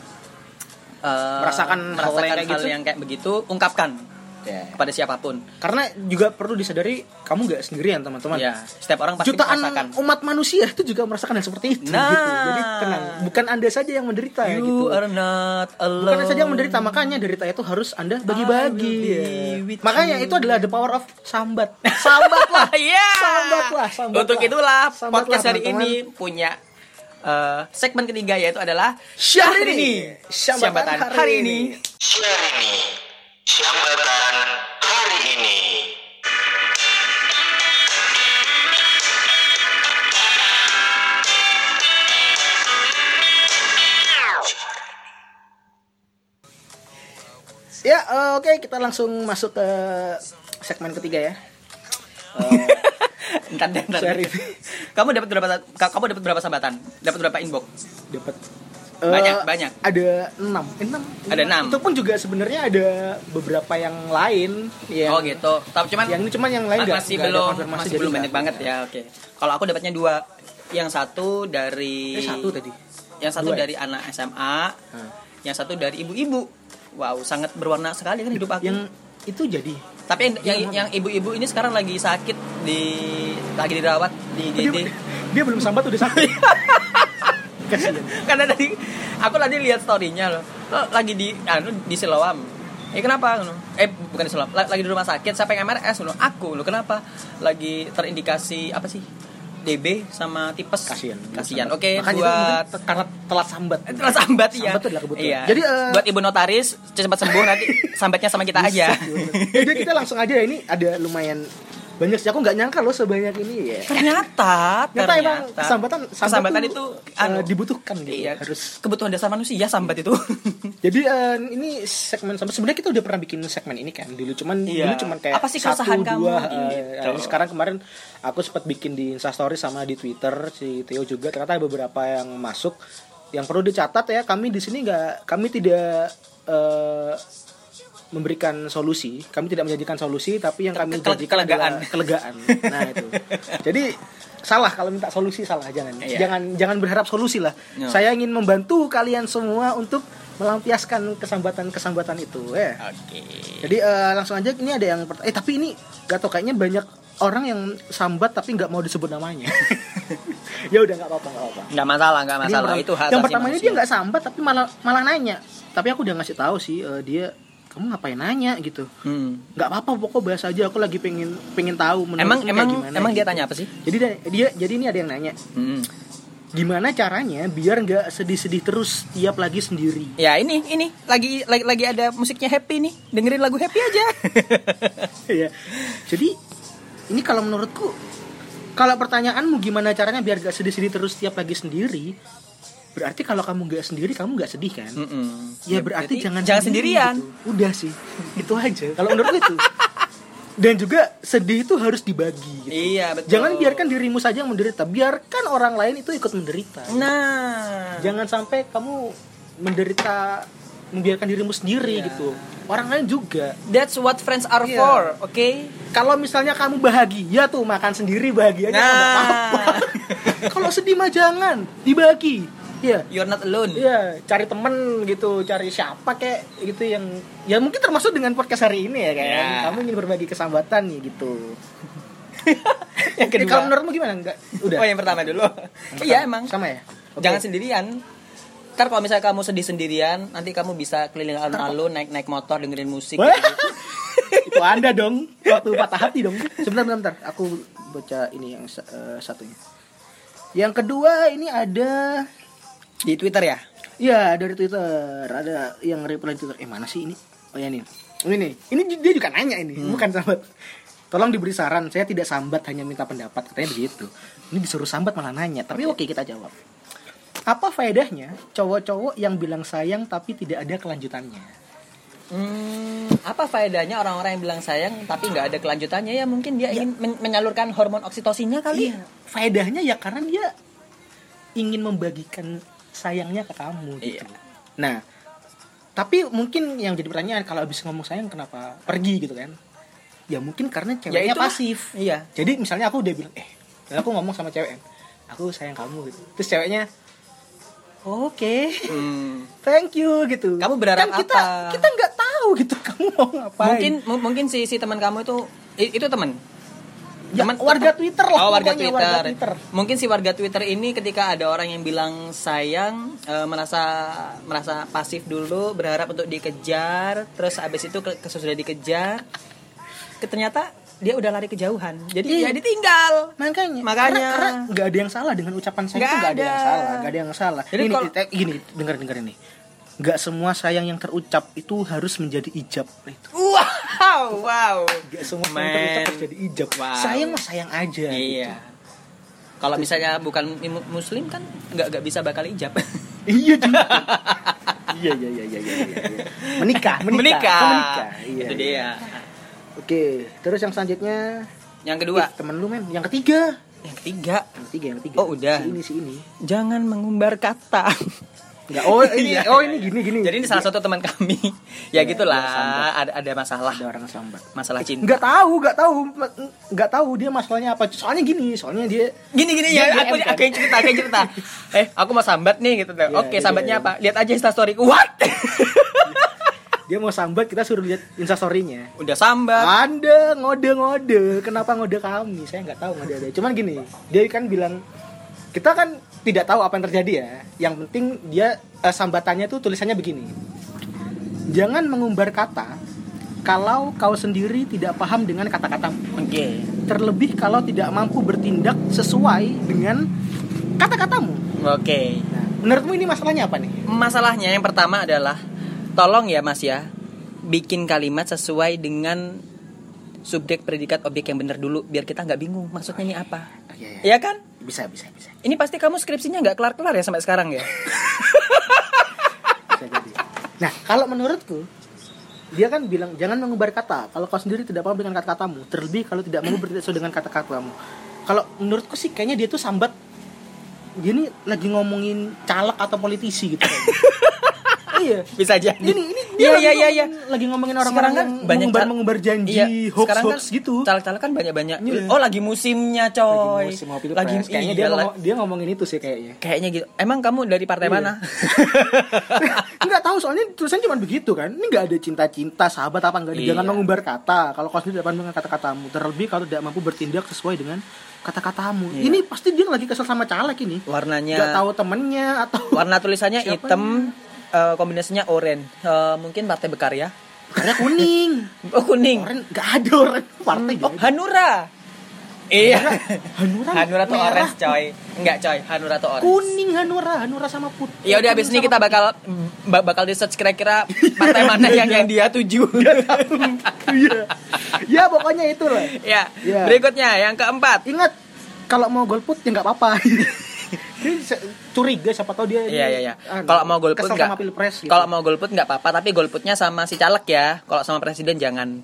[SPEAKER 2] eh,
[SPEAKER 1] Merasakan hal
[SPEAKER 2] merasakan
[SPEAKER 1] yang
[SPEAKER 2] hal,
[SPEAKER 1] kayak gitu.
[SPEAKER 2] yang kayak begitu ungkapkan kepada siapapun
[SPEAKER 1] karena juga perlu disadari kamu nggak sendirian teman-teman.
[SPEAKER 2] ya setiap orang pasti
[SPEAKER 1] jutaan
[SPEAKER 2] merasakan
[SPEAKER 1] umat manusia itu juga merasakan hal seperti itu
[SPEAKER 2] Nah.
[SPEAKER 1] gitu. Jadi tenang, bukan Anda saja yang menderita
[SPEAKER 2] you
[SPEAKER 1] gitu.
[SPEAKER 2] are not alone
[SPEAKER 1] Bukan Anda saja yang menderita, makanya derita itu harus Anda bagi-bagi.
[SPEAKER 2] I will be with
[SPEAKER 1] Makanya
[SPEAKER 2] you.
[SPEAKER 1] itu adalah the power of sambat. Sambatlah.
[SPEAKER 2] Iya.
[SPEAKER 1] Sambatlah, sambatlah.
[SPEAKER 2] Untuk itulah
[SPEAKER 1] Sambatlah,
[SPEAKER 2] podcast hari
[SPEAKER 1] teman-teman.
[SPEAKER 2] ini punya eh, segmen ketiga yaitu adalah
[SPEAKER 1] Syahrini.
[SPEAKER 2] Syambatan,
[SPEAKER 1] Syambatan
[SPEAKER 2] hari,
[SPEAKER 1] hari
[SPEAKER 2] ini.
[SPEAKER 1] ini.
[SPEAKER 3] Syahrini, Jambatan hari ini.
[SPEAKER 1] Ya, eh, oke kita langsung masuk ke segmen ketiga ya.
[SPEAKER 2] Entar deh, entar.
[SPEAKER 1] Sorry.
[SPEAKER 2] Kamu dapat berapa ka- kamu dapat berapa sambatan? Dapat berapa inbox?
[SPEAKER 1] Dapat eh,
[SPEAKER 2] Banyak, banyak.
[SPEAKER 1] Ada 6. 6.
[SPEAKER 2] Ada enam.
[SPEAKER 1] Itu pun juga sebenarnya ada beberapa yang lain ya. yang
[SPEAKER 2] Oh gitu. Tapi cuman
[SPEAKER 1] Iya. Yang ini cuman yang lain nggak-
[SPEAKER 2] masih
[SPEAKER 1] nggak ada
[SPEAKER 2] belum
[SPEAKER 1] konfirmasi,
[SPEAKER 2] masih
[SPEAKER 1] jadi
[SPEAKER 2] belum
[SPEAKER 1] nggak-
[SPEAKER 2] banyak banget ya. Oke. Kalau aku dapatnya dua. Yang satu dari
[SPEAKER 1] Eh, satu tadi.
[SPEAKER 2] Yang satu
[SPEAKER 1] Dua ya?
[SPEAKER 2] dari anak SMA. Yang satu dari ibu-ibu. Wow, sangat berwarna sekali kan hidup aku.
[SPEAKER 1] yang itu jadi
[SPEAKER 2] Tapi yang yang, yang ibu-ibu ini sekarang lagi sakit di lagi dirawat di
[SPEAKER 1] dia,
[SPEAKER 2] IGD.
[SPEAKER 1] dia belum sambat udah sakit. Kasihan.
[SPEAKER 2] Karena tadi aku tadi lihat story-nya loh. Lo lagi di anu di Siloam. Eh kenapa? Eh bukan di Siloam, La- lagi di rumah sakit. Siapa yang MRS? Loh, aku. Loh kenapa? Lagi terindikasi apa sih? DB sama tipes.
[SPEAKER 1] kasihan
[SPEAKER 2] Kasihan.
[SPEAKER 1] Sambat.
[SPEAKER 2] Oke,
[SPEAKER 1] Makanya itu
[SPEAKER 2] buat
[SPEAKER 1] mungkin te- karena telat sambat
[SPEAKER 2] Terus sambat ya.
[SPEAKER 1] Sambat adalah kebutuhan.
[SPEAKER 2] Iya.
[SPEAKER 1] Jadi, eh,
[SPEAKER 2] buat ibu notaris cepat sembuh nanti sambatnya sama kita aja.
[SPEAKER 1] jadi kita langsung aja ya, ini ada lumayan banyak sih aku nggak nyangka loh sebanyak ini ya Ternyata
[SPEAKER 2] Ternyata, ternyata,
[SPEAKER 1] emang kesambatan sambat
[SPEAKER 2] kesambatan
[SPEAKER 1] tuh,
[SPEAKER 2] itu
[SPEAKER 1] eh,
[SPEAKER 2] anu,
[SPEAKER 1] dibutuhkan gitu
[SPEAKER 2] Iya,
[SPEAKER 1] harus
[SPEAKER 2] kebutuhan dasar manusia sambat itu.
[SPEAKER 1] jadi eh, ini segmen sambat sebenarnya kita udah pernah bikin segmen ini kan dulu cuman
[SPEAKER 2] Iya.
[SPEAKER 1] dulu cuman kayak
[SPEAKER 2] Apa sih
[SPEAKER 1] satu
[SPEAKER 2] keresahan kamu?
[SPEAKER 1] dua
[SPEAKER 2] Gitu.
[SPEAKER 1] eh, sekarang kemarin aku sempat bikin di instastory sama di twitter si Theo juga ternyata ada beberapa yang masuk yang perlu dicatat ya kami di sini nggak kami tidak eh, memberikan solusi kami tidak menjadikan solusi tapi yang kami
[SPEAKER 2] Ke- ke-
[SPEAKER 1] jadikan
[SPEAKER 2] kelegaan.
[SPEAKER 1] adalah kelegaan nah itu jadi salah kalau minta solusi salah jangan
[SPEAKER 2] Iya.
[SPEAKER 1] jangan jangan berharap solusi lah
[SPEAKER 2] Iya.
[SPEAKER 1] saya ingin membantu kalian semua untuk melampiaskan kesambatan kesambatan itu eh
[SPEAKER 2] Oke.
[SPEAKER 1] jadi eh, langsung aja ini ada yang pert- eh tapi ini gak tau kayaknya banyak orang yang sambat tapi nggak mau disebut namanya ya udah nggak apa-apa nggak apa-apa
[SPEAKER 2] Nggak masalah, nggak
[SPEAKER 1] Jadi
[SPEAKER 2] masalah.
[SPEAKER 1] yang pertama-
[SPEAKER 2] itu hak
[SPEAKER 1] yang
[SPEAKER 2] asasi
[SPEAKER 1] pertamanya
[SPEAKER 2] manusia.
[SPEAKER 1] dia nggak sambat tapi malah malah nanya tapi aku udah ngasih tahu sih eh, dia kamu ngapain nanya gitu
[SPEAKER 2] Hmm.
[SPEAKER 1] nggak apa-apa pokoknya bahas aja aku lagi pengen pengen tahu menurut
[SPEAKER 2] Emang
[SPEAKER 1] lu kayak
[SPEAKER 2] emang
[SPEAKER 1] gimana
[SPEAKER 2] emang dia
[SPEAKER 1] gitu.
[SPEAKER 2] tanya apa sih?
[SPEAKER 1] jadi dia- dia jadi ini ada yang nanya
[SPEAKER 2] Hmm.
[SPEAKER 1] gimana caranya biar nggak sedih-sedih terus tiap lagi sendiri
[SPEAKER 2] Ya ini ini lagi lagi lagi ada musiknya happy nih. Dengerin lagu happy aja.
[SPEAKER 1] ya jadi ini kalau menurutku kalau pertanyaanmu gimana caranya biar gak sedih-sedih terus tiap lagi sendiri berarti kalau kamu gak sendiri kamu gak sedih kan
[SPEAKER 2] Mm-mm.
[SPEAKER 1] ya berarti
[SPEAKER 2] Hmm. Jadi,
[SPEAKER 1] jangan
[SPEAKER 2] jangan
[SPEAKER 1] sendiri
[SPEAKER 2] sendirian.
[SPEAKER 1] gitu. udah sih itu aja kalau menurutku itu dan juga sedih itu harus dibagi gitu.
[SPEAKER 2] Iya, betul.
[SPEAKER 1] jangan biarkan dirimu saja yang menderita biarkan orang lain itu ikut menderita
[SPEAKER 2] Nah.
[SPEAKER 1] jangan sampai kamu menderita membiarkan dirimu sendiri
[SPEAKER 2] Iya.
[SPEAKER 1] gitu orang lain juga
[SPEAKER 2] That's what friends are
[SPEAKER 1] Iya.
[SPEAKER 2] for, oke?
[SPEAKER 1] kalau misalnya kamu bahagia tuh makan sendiri bahagianya
[SPEAKER 2] Nah.
[SPEAKER 1] nggak apa-apa. kalau sedih mah jangan dibagi. Iya.
[SPEAKER 2] You're not alone.
[SPEAKER 1] Iya, cari temen gitu, cari siapa kayak gitu yang ya mungkin termasuk dengan podcast hari ini ya kayak
[SPEAKER 2] Iya.
[SPEAKER 1] kamu ingin berbagi kesambatan nih gitu.
[SPEAKER 2] yang
[SPEAKER 1] Oke, Kalau menurutmu gimana? Enggak. Udah.
[SPEAKER 2] Oh, yang pertama dulu. iya, emang.
[SPEAKER 1] Sama ya? Oke.
[SPEAKER 2] Jangan sendirian. Ntar kalau misalnya kamu sedih sendirian, nanti kamu bisa keliling alun-alun, naik-naik motor, dengerin musik.
[SPEAKER 1] Wah.
[SPEAKER 2] gitu.
[SPEAKER 1] Itu Anda dong, waktu patah hati dong. Sebentar, bentar, bentar. Aku baca ini yang sa- eh, satunya. Yang kedua ini ada
[SPEAKER 2] Di Twitter ya?
[SPEAKER 1] Iya dari Twitter ada yang reply Twitter. Eh mana sih ini? Oh ya nih. Ini nih. Ini ju- dia juga nanya ini. Bukan sambat. Tolong diberi saran. Saya tidak sambat hanya minta pendapat katanya begitu. Ini disuruh sambat malah nanya. Tapi oke kita jawab. Apa faedahnya cowok-cowok yang bilang sayang tapi tidak ada kelanjutannya?
[SPEAKER 2] Hmm, apa faedahnya orang-orang yang bilang sayang tapi nggak ada kelanjutannya ya mungkin dia ingin men- menyalurkan hormon oksitosinnya kali.
[SPEAKER 1] Iya. Faedahnya ya karena dia ingin membagikan sayangnya ke kamu gitu.
[SPEAKER 2] Iya.
[SPEAKER 1] Nah, tapi mungkin yang jadi pertanyaan kalau habis ngomong sayang kenapa pergi gitu kan? Ya mungkin karena ceweknya
[SPEAKER 2] itulah.
[SPEAKER 1] pasif.
[SPEAKER 2] Iya.
[SPEAKER 1] Jadi misalnya aku udah bilang, eh, dan aku ngomong sama cewek, aku sayang kamu gitu. Terus ceweknya, oke,
[SPEAKER 2] Hmm.
[SPEAKER 1] thank you gitu.
[SPEAKER 2] Kamu berharap
[SPEAKER 1] Kan kita,
[SPEAKER 2] apa?
[SPEAKER 1] Kita nggak tahu gitu kamu mau ngapain.
[SPEAKER 2] Mungkin mu- mungkin si si teman kamu itu i- itu teman.
[SPEAKER 1] Ya,
[SPEAKER 2] Teman-
[SPEAKER 1] warga Twitter lah
[SPEAKER 2] Oh, warga
[SPEAKER 1] pokoknya,
[SPEAKER 2] Twitter.
[SPEAKER 1] warga Twitter.
[SPEAKER 2] Mungkin si warga Twitter ini ketika ada orang yang bilang sayang eh, merasa merasa pasif dulu, berharap untuk dikejar, terus abis itu ke, ke- sudah dikejar, ke- ternyata dia udah lari kejauhan. Jadi
[SPEAKER 1] Iya.
[SPEAKER 2] ya ditinggal.
[SPEAKER 1] makanya
[SPEAKER 2] Makanya.
[SPEAKER 1] karena- karena nggak ada yang salah dengan ucapan sayang
[SPEAKER 2] Nggak
[SPEAKER 1] itu nggak ada. yang
[SPEAKER 2] ada.
[SPEAKER 1] salah nggak ada yang salah
[SPEAKER 2] Jadi
[SPEAKER 1] ini
[SPEAKER 2] kalau-
[SPEAKER 1] eh, gini dengar dengar ini nggak semua sayang yang terucap itu harus menjadi ijab itu
[SPEAKER 2] Wow, wow.
[SPEAKER 1] nggak semua sayang yang terucap
[SPEAKER 2] Man.
[SPEAKER 1] harus jadi ijab
[SPEAKER 2] Wow.
[SPEAKER 1] sayang mah sayang aja gitu.
[SPEAKER 2] Iya. Kalau misalnya bukan im- muslim kan nggak nggak bisa bakal ijab.
[SPEAKER 1] gitu. iya juga iya iya iya iya iya, iya, iya. menikah menikah
[SPEAKER 2] Menikah.
[SPEAKER 1] Oh, menikah. iya,
[SPEAKER 2] Itu
[SPEAKER 1] iya.
[SPEAKER 2] dia.
[SPEAKER 1] oke terus yang selanjutnya
[SPEAKER 2] Yang kedua,
[SPEAKER 1] Ih, temen lu men yang ketiga
[SPEAKER 2] yang ketiga,
[SPEAKER 1] yang ketiga yang ketiga
[SPEAKER 2] Oh, udah.
[SPEAKER 1] si ini si ini
[SPEAKER 2] jangan mengumbar kata.
[SPEAKER 1] Nggak, oh ini
[SPEAKER 2] Iya.
[SPEAKER 1] oh ini gini gini
[SPEAKER 2] Jadi ini salah satu teman kami. ya
[SPEAKER 1] Iya,
[SPEAKER 2] gitulah,
[SPEAKER 1] dia sambat.
[SPEAKER 2] ada ada masalah,
[SPEAKER 1] ada orang sambat
[SPEAKER 2] masalah cinta.
[SPEAKER 1] nggak tahu nggak tahu nggak tahu dia masalahnya apa soalnya gini soalnya dia
[SPEAKER 2] Gini gini ya,
[SPEAKER 1] Dia
[SPEAKER 2] aku
[SPEAKER 1] DM kan?
[SPEAKER 2] aku yang cerita, aku yang cerita. eh, aku mau sambat nih gitu.
[SPEAKER 1] Iya, iya,
[SPEAKER 2] Oke, sambatnya
[SPEAKER 1] iya.
[SPEAKER 2] apa? Lihat aja instastory. What?
[SPEAKER 1] dia mau sambat kita suruh lihat instastorynya
[SPEAKER 2] Udah sambat.
[SPEAKER 1] anda ngode ngode kenapa ngode kami saya nggak tahu ngode ada cuman gini dia kan bilang kita kan tidak tahu apa yang terjadi ya yang penting dia eh, sambatannya tuh tulisannya begini jangan mengumbar kata kalau kau sendiri tidak paham dengan kata-kata
[SPEAKER 2] Oke.
[SPEAKER 1] terlebih kalau tidak mampu bertindak sesuai dengan kata-katamu
[SPEAKER 2] Oke.
[SPEAKER 1] Nah, menurutmu ini masalahnya apa nih?
[SPEAKER 2] Masalahnya yang pertama adalah tolong ya Mas ya bikin kalimat sesuai dengan subjek predikat objek yang benar dulu biar kita nggak bingung maksudnya ini apa.
[SPEAKER 1] Oh, iya,
[SPEAKER 2] Ya kan?
[SPEAKER 1] Bisa, bisa, bisa.
[SPEAKER 2] Ini pasti kamu skripsinya nggak kelar-kelar ya sampai sekarang ya.
[SPEAKER 1] Bisa jadi. Nah, kalau menurutku dia kan bilang jangan mengumbar kata. Kalau kau sendiri tidak paham dengan kata-katamu, terlebih kalau tidak mau bertindak sesuai dengan kata-katamu. Kalau menurutku sih kayaknya dia tuh sambat dia ini lagi ngomongin caleg atau politisi gitu. kayaknya. iya.
[SPEAKER 2] Bisa jadi.
[SPEAKER 1] Ini ini dia
[SPEAKER 2] Iya
[SPEAKER 1] lagi,
[SPEAKER 2] iya iya iya.
[SPEAKER 1] ngomongin, lagi ngomongin orang-orang yang mengumbar
[SPEAKER 2] cal-
[SPEAKER 1] mengumbar janji
[SPEAKER 2] Iya,
[SPEAKER 1] hoax
[SPEAKER 2] sekarang
[SPEAKER 1] hoax
[SPEAKER 2] kan
[SPEAKER 1] gitu.
[SPEAKER 2] Caleg-caleg kan banyak-banyak.
[SPEAKER 1] Iya.
[SPEAKER 2] Oh, lagi musimnya, coy.
[SPEAKER 1] Lagi musim mau pilpres. kayaknya
[SPEAKER 2] iya,
[SPEAKER 1] dia
[SPEAKER 2] lagi-
[SPEAKER 1] ngomong- dia ngomongin itu sih kayaknya.
[SPEAKER 2] kayaknya gitu. Emang kamu dari partai
[SPEAKER 1] Iya.
[SPEAKER 2] mana?
[SPEAKER 1] nggak tahu soalnya tulisan cuma begitu kan ini nggak ada cinta-cinta sahabat apa nggak ada.
[SPEAKER 2] Iya.
[SPEAKER 1] jangan mengumbar kata kalau kau sendiri depan dengan kata-katamu terlebih kalau tidak mampu bertindak sesuai dengan kata-katamu
[SPEAKER 2] Iya.
[SPEAKER 1] ini pasti dia lagi kesel sama caleg ini
[SPEAKER 2] Warnanya
[SPEAKER 1] nggak tahu temennya atau
[SPEAKER 2] Warna tulisannya
[SPEAKER 1] Siapa
[SPEAKER 2] hitam, eh, kombinasinya oranye. Eh, mungkin partai Berkarya.
[SPEAKER 1] Karena kuning.
[SPEAKER 2] Oh kuning.
[SPEAKER 1] Orang nggak ada orang partai
[SPEAKER 2] Oh
[SPEAKER 1] nggak ada.
[SPEAKER 2] Hanura. Iya.
[SPEAKER 1] Hanura,
[SPEAKER 2] Hanura tuh
[SPEAKER 1] merah.
[SPEAKER 2] orange coy. Enggak coy, Hanura tuh orange.
[SPEAKER 1] Kuning Hanura, Hanura sama putih.
[SPEAKER 2] Ya udah abis ini kita bakal ba- bakal di search kira-kira partai mana yang yang dia tuju.
[SPEAKER 1] Iya. ya pokoknya itu lah.
[SPEAKER 2] ya.
[SPEAKER 1] Iya.
[SPEAKER 2] Berikutnya yang keempat.
[SPEAKER 1] Ingat kalau mau golput ya nggak apa-apa. Jadi se- curiga siapa tahu dia
[SPEAKER 2] Iya iya iya.
[SPEAKER 1] anu,
[SPEAKER 2] Kalau mau golput
[SPEAKER 1] kesel
[SPEAKER 2] enggak.
[SPEAKER 1] sama pilpres gitu.
[SPEAKER 2] Kalau mau golput enggak apa-apa, tapi golputnya sama si caleg ya. Kalau sama presiden jangan.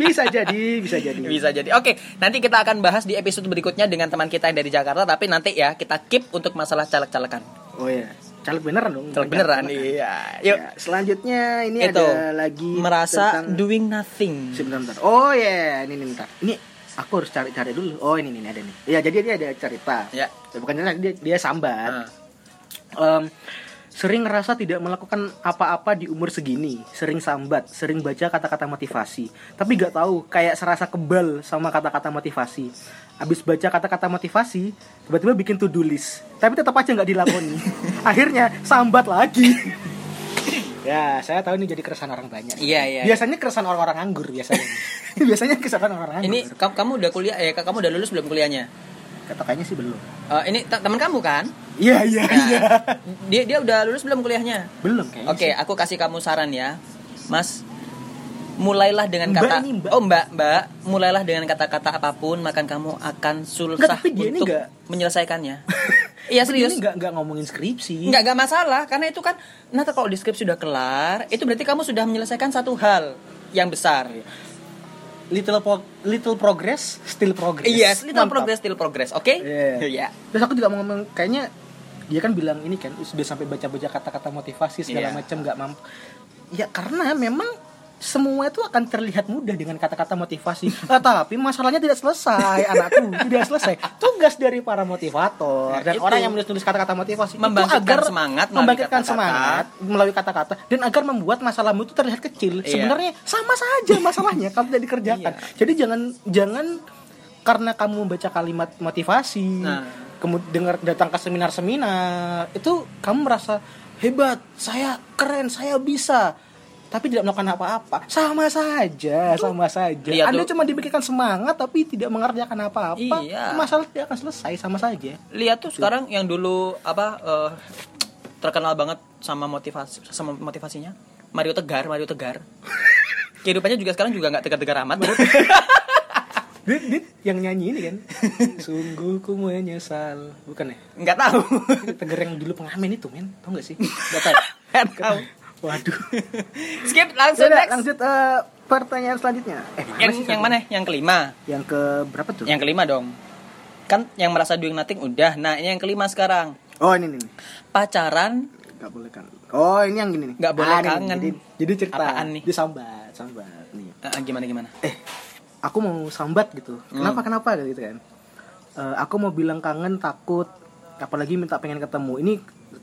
[SPEAKER 1] bisa jadi, bisa jadi.
[SPEAKER 2] Bisa jadi. Oke, nanti kita akan bahas di episode berikutnya dengan teman kita yang dari Jakarta, tapi nanti ya kita keep untuk masalah caleg-calekan.
[SPEAKER 1] Oh iya. Caleg beneran dong.
[SPEAKER 2] Caleg beneran. Iya. Yuk.
[SPEAKER 1] Ya, selanjutnya ini
[SPEAKER 2] itu
[SPEAKER 1] ada lagi
[SPEAKER 2] merasa
[SPEAKER 1] tentang-
[SPEAKER 2] doing nothing.
[SPEAKER 1] Sebentar, bentar. Oh ya, ini nih bentar. Ini aku harus cari-cari dulu. Oh ini nih ini ada nih. Ya jadi dia ada cerita.
[SPEAKER 2] Ya.
[SPEAKER 1] Bukan cerita, dia, dia sambat.
[SPEAKER 2] Ah.
[SPEAKER 1] Em, sering ngerasa tidak melakukan apa-apa di umur segini. Sering sambat, sering baca kata-kata motivasi. Tapi gak tahu, kayak serasa kebal sama kata-kata motivasi. Abis baca kata-kata motivasi, tiba-tiba bikin to do list. Tapi tetap aja nggak dilakoni. Akhirnya sambat lagi. ya, saya tahu ini jadi keresahan orang banyak.
[SPEAKER 2] Iya, iya.
[SPEAKER 1] Biasanya keresahan orang-orang anggur biasanya. biasanya keresahan orang-orang anggur.
[SPEAKER 2] Ini kamu, kamu udah kuliah eh kamu udah lulus belum kuliahnya?
[SPEAKER 1] kata kayaknya sih belum.
[SPEAKER 2] Eh, ini te- teman kamu kan?
[SPEAKER 1] Iya, iya,
[SPEAKER 2] Nah,
[SPEAKER 1] iya.
[SPEAKER 2] Dia dia udah lulus belum kuliahnya?
[SPEAKER 1] Belum kayaknya.
[SPEAKER 2] Oke, aku kasih kamu saran ya. Mas mulailah dengan
[SPEAKER 1] Mbak
[SPEAKER 2] kata
[SPEAKER 1] ini, Mbak.
[SPEAKER 2] oh mbak mbak mulailah dengan kata-kata apapun makan kamu akan
[SPEAKER 1] Nggak,
[SPEAKER 2] susah
[SPEAKER 1] tapi dia ini
[SPEAKER 2] untuk
[SPEAKER 1] nggak-
[SPEAKER 2] menyelesaikannya iya
[SPEAKER 1] Tapi
[SPEAKER 2] serius
[SPEAKER 1] Ini nggak nggak ngomongin skripsi.
[SPEAKER 2] nggak nggak masalah karena itu kan nanti kalau deskripsi sudah kelar itu berarti kamu sudah menyelesaikan satu hal yang besar
[SPEAKER 1] Little pro- little progress, still progress.
[SPEAKER 2] Iya, little
[SPEAKER 1] Mantap.
[SPEAKER 2] progress, still progress, oke?
[SPEAKER 1] Iya.
[SPEAKER 2] Iya.
[SPEAKER 1] Terus aku juga mau ngomong kayaknya dia kan bilang ini kan sudah sampai baca-baca kata-kata motivasi segala
[SPEAKER 2] Iya.
[SPEAKER 1] macam nggak mampu. Ya karena memang semua itu akan terlihat mudah dengan kata-kata motivasi. Eh, tapi masalahnya tidak selesai, anakku. Tidak selesai. Tugas dari para motivator dan
[SPEAKER 2] Nah, Itu.
[SPEAKER 1] orang yang menulis kata-kata motivasi itu
[SPEAKER 2] Membangkitkan
[SPEAKER 1] agar
[SPEAKER 2] semangat melalui
[SPEAKER 1] membangkitkan
[SPEAKER 2] kata-kata.
[SPEAKER 1] semangat melalui kata-kata dan agar membuat masalahmu itu terlihat kecil.
[SPEAKER 2] Iya.
[SPEAKER 1] Sebenarnya sama saja masalahnya kalau tidak dikerjakan.
[SPEAKER 2] Iya.
[SPEAKER 1] Jadi jangan jangan karena kamu membaca kalimat motivasi,
[SPEAKER 2] Nah.
[SPEAKER 1] kemudian dengar datang ke seminar-seminar, itu kamu merasa hebat, saya keren, saya bisa. Tapi tidak melakukan apa-apa, sama saja, sama saja.
[SPEAKER 2] lihat
[SPEAKER 1] Anda
[SPEAKER 2] tuh.
[SPEAKER 1] cuma dipikirkan semangat, tapi tidak mengerjakan apa-apa,
[SPEAKER 2] Iya.
[SPEAKER 1] masalah tidak akan selesai, sama saja.
[SPEAKER 2] Lihat tuh sekarang yang dulu apa eh, terkenal banget sama motivasi sama motivasinya Mario Tegar, Mario Tegar. Kehidupannya juga sekarang juga nggak tegar-tegar amat.
[SPEAKER 1] Dit, dit, yang nyanyi ini kan, sungguh ku menyesal, bukan ya?
[SPEAKER 2] Nggak tahu.
[SPEAKER 1] Tegar yang dulu pengamen itu men, tau gak sih? Gak tau.
[SPEAKER 2] Nggak tahu.
[SPEAKER 1] Waduh.
[SPEAKER 2] Skip langsung
[SPEAKER 1] Yaudah,
[SPEAKER 2] next.
[SPEAKER 1] lanjut eh, pertanyaan selanjutnya. Eh, mana
[SPEAKER 2] Yang
[SPEAKER 1] sih
[SPEAKER 2] yang
[SPEAKER 1] tadi?
[SPEAKER 2] mana? Yang kelima.
[SPEAKER 1] Yang ke berapa tuh?
[SPEAKER 2] Yang kelima dong. Kan yang merasa doing nothing udah. Nah, ini yang kelima sekarang.
[SPEAKER 1] Oh ini nih, nih.
[SPEAKER 2] Pacaran
[SPEAKER 1] nggak boleh kan? Oh ini yang gini nih.
[SPEAKER 2] Nggak boleh
[SPEAKER 1] ini nih,
[SPEAKER 2] kangen.
[SPEAKER 1] Jadi, jadi cerita.
[SPEAKER 2] Apaan nih?
[SPEAKER 1] Disambat, sambat nih.
[SPEAKER 2] eh, gimana gimana?
[SPEAKER 1] Aku mau sambat gitu.
[SPEAKER 2] Hmm.
[SPEAKER 1] Kenapa kenapa gitu kan? Eh, aku mau bilang kangen takut, apalagi minta pengen ketemu. Ini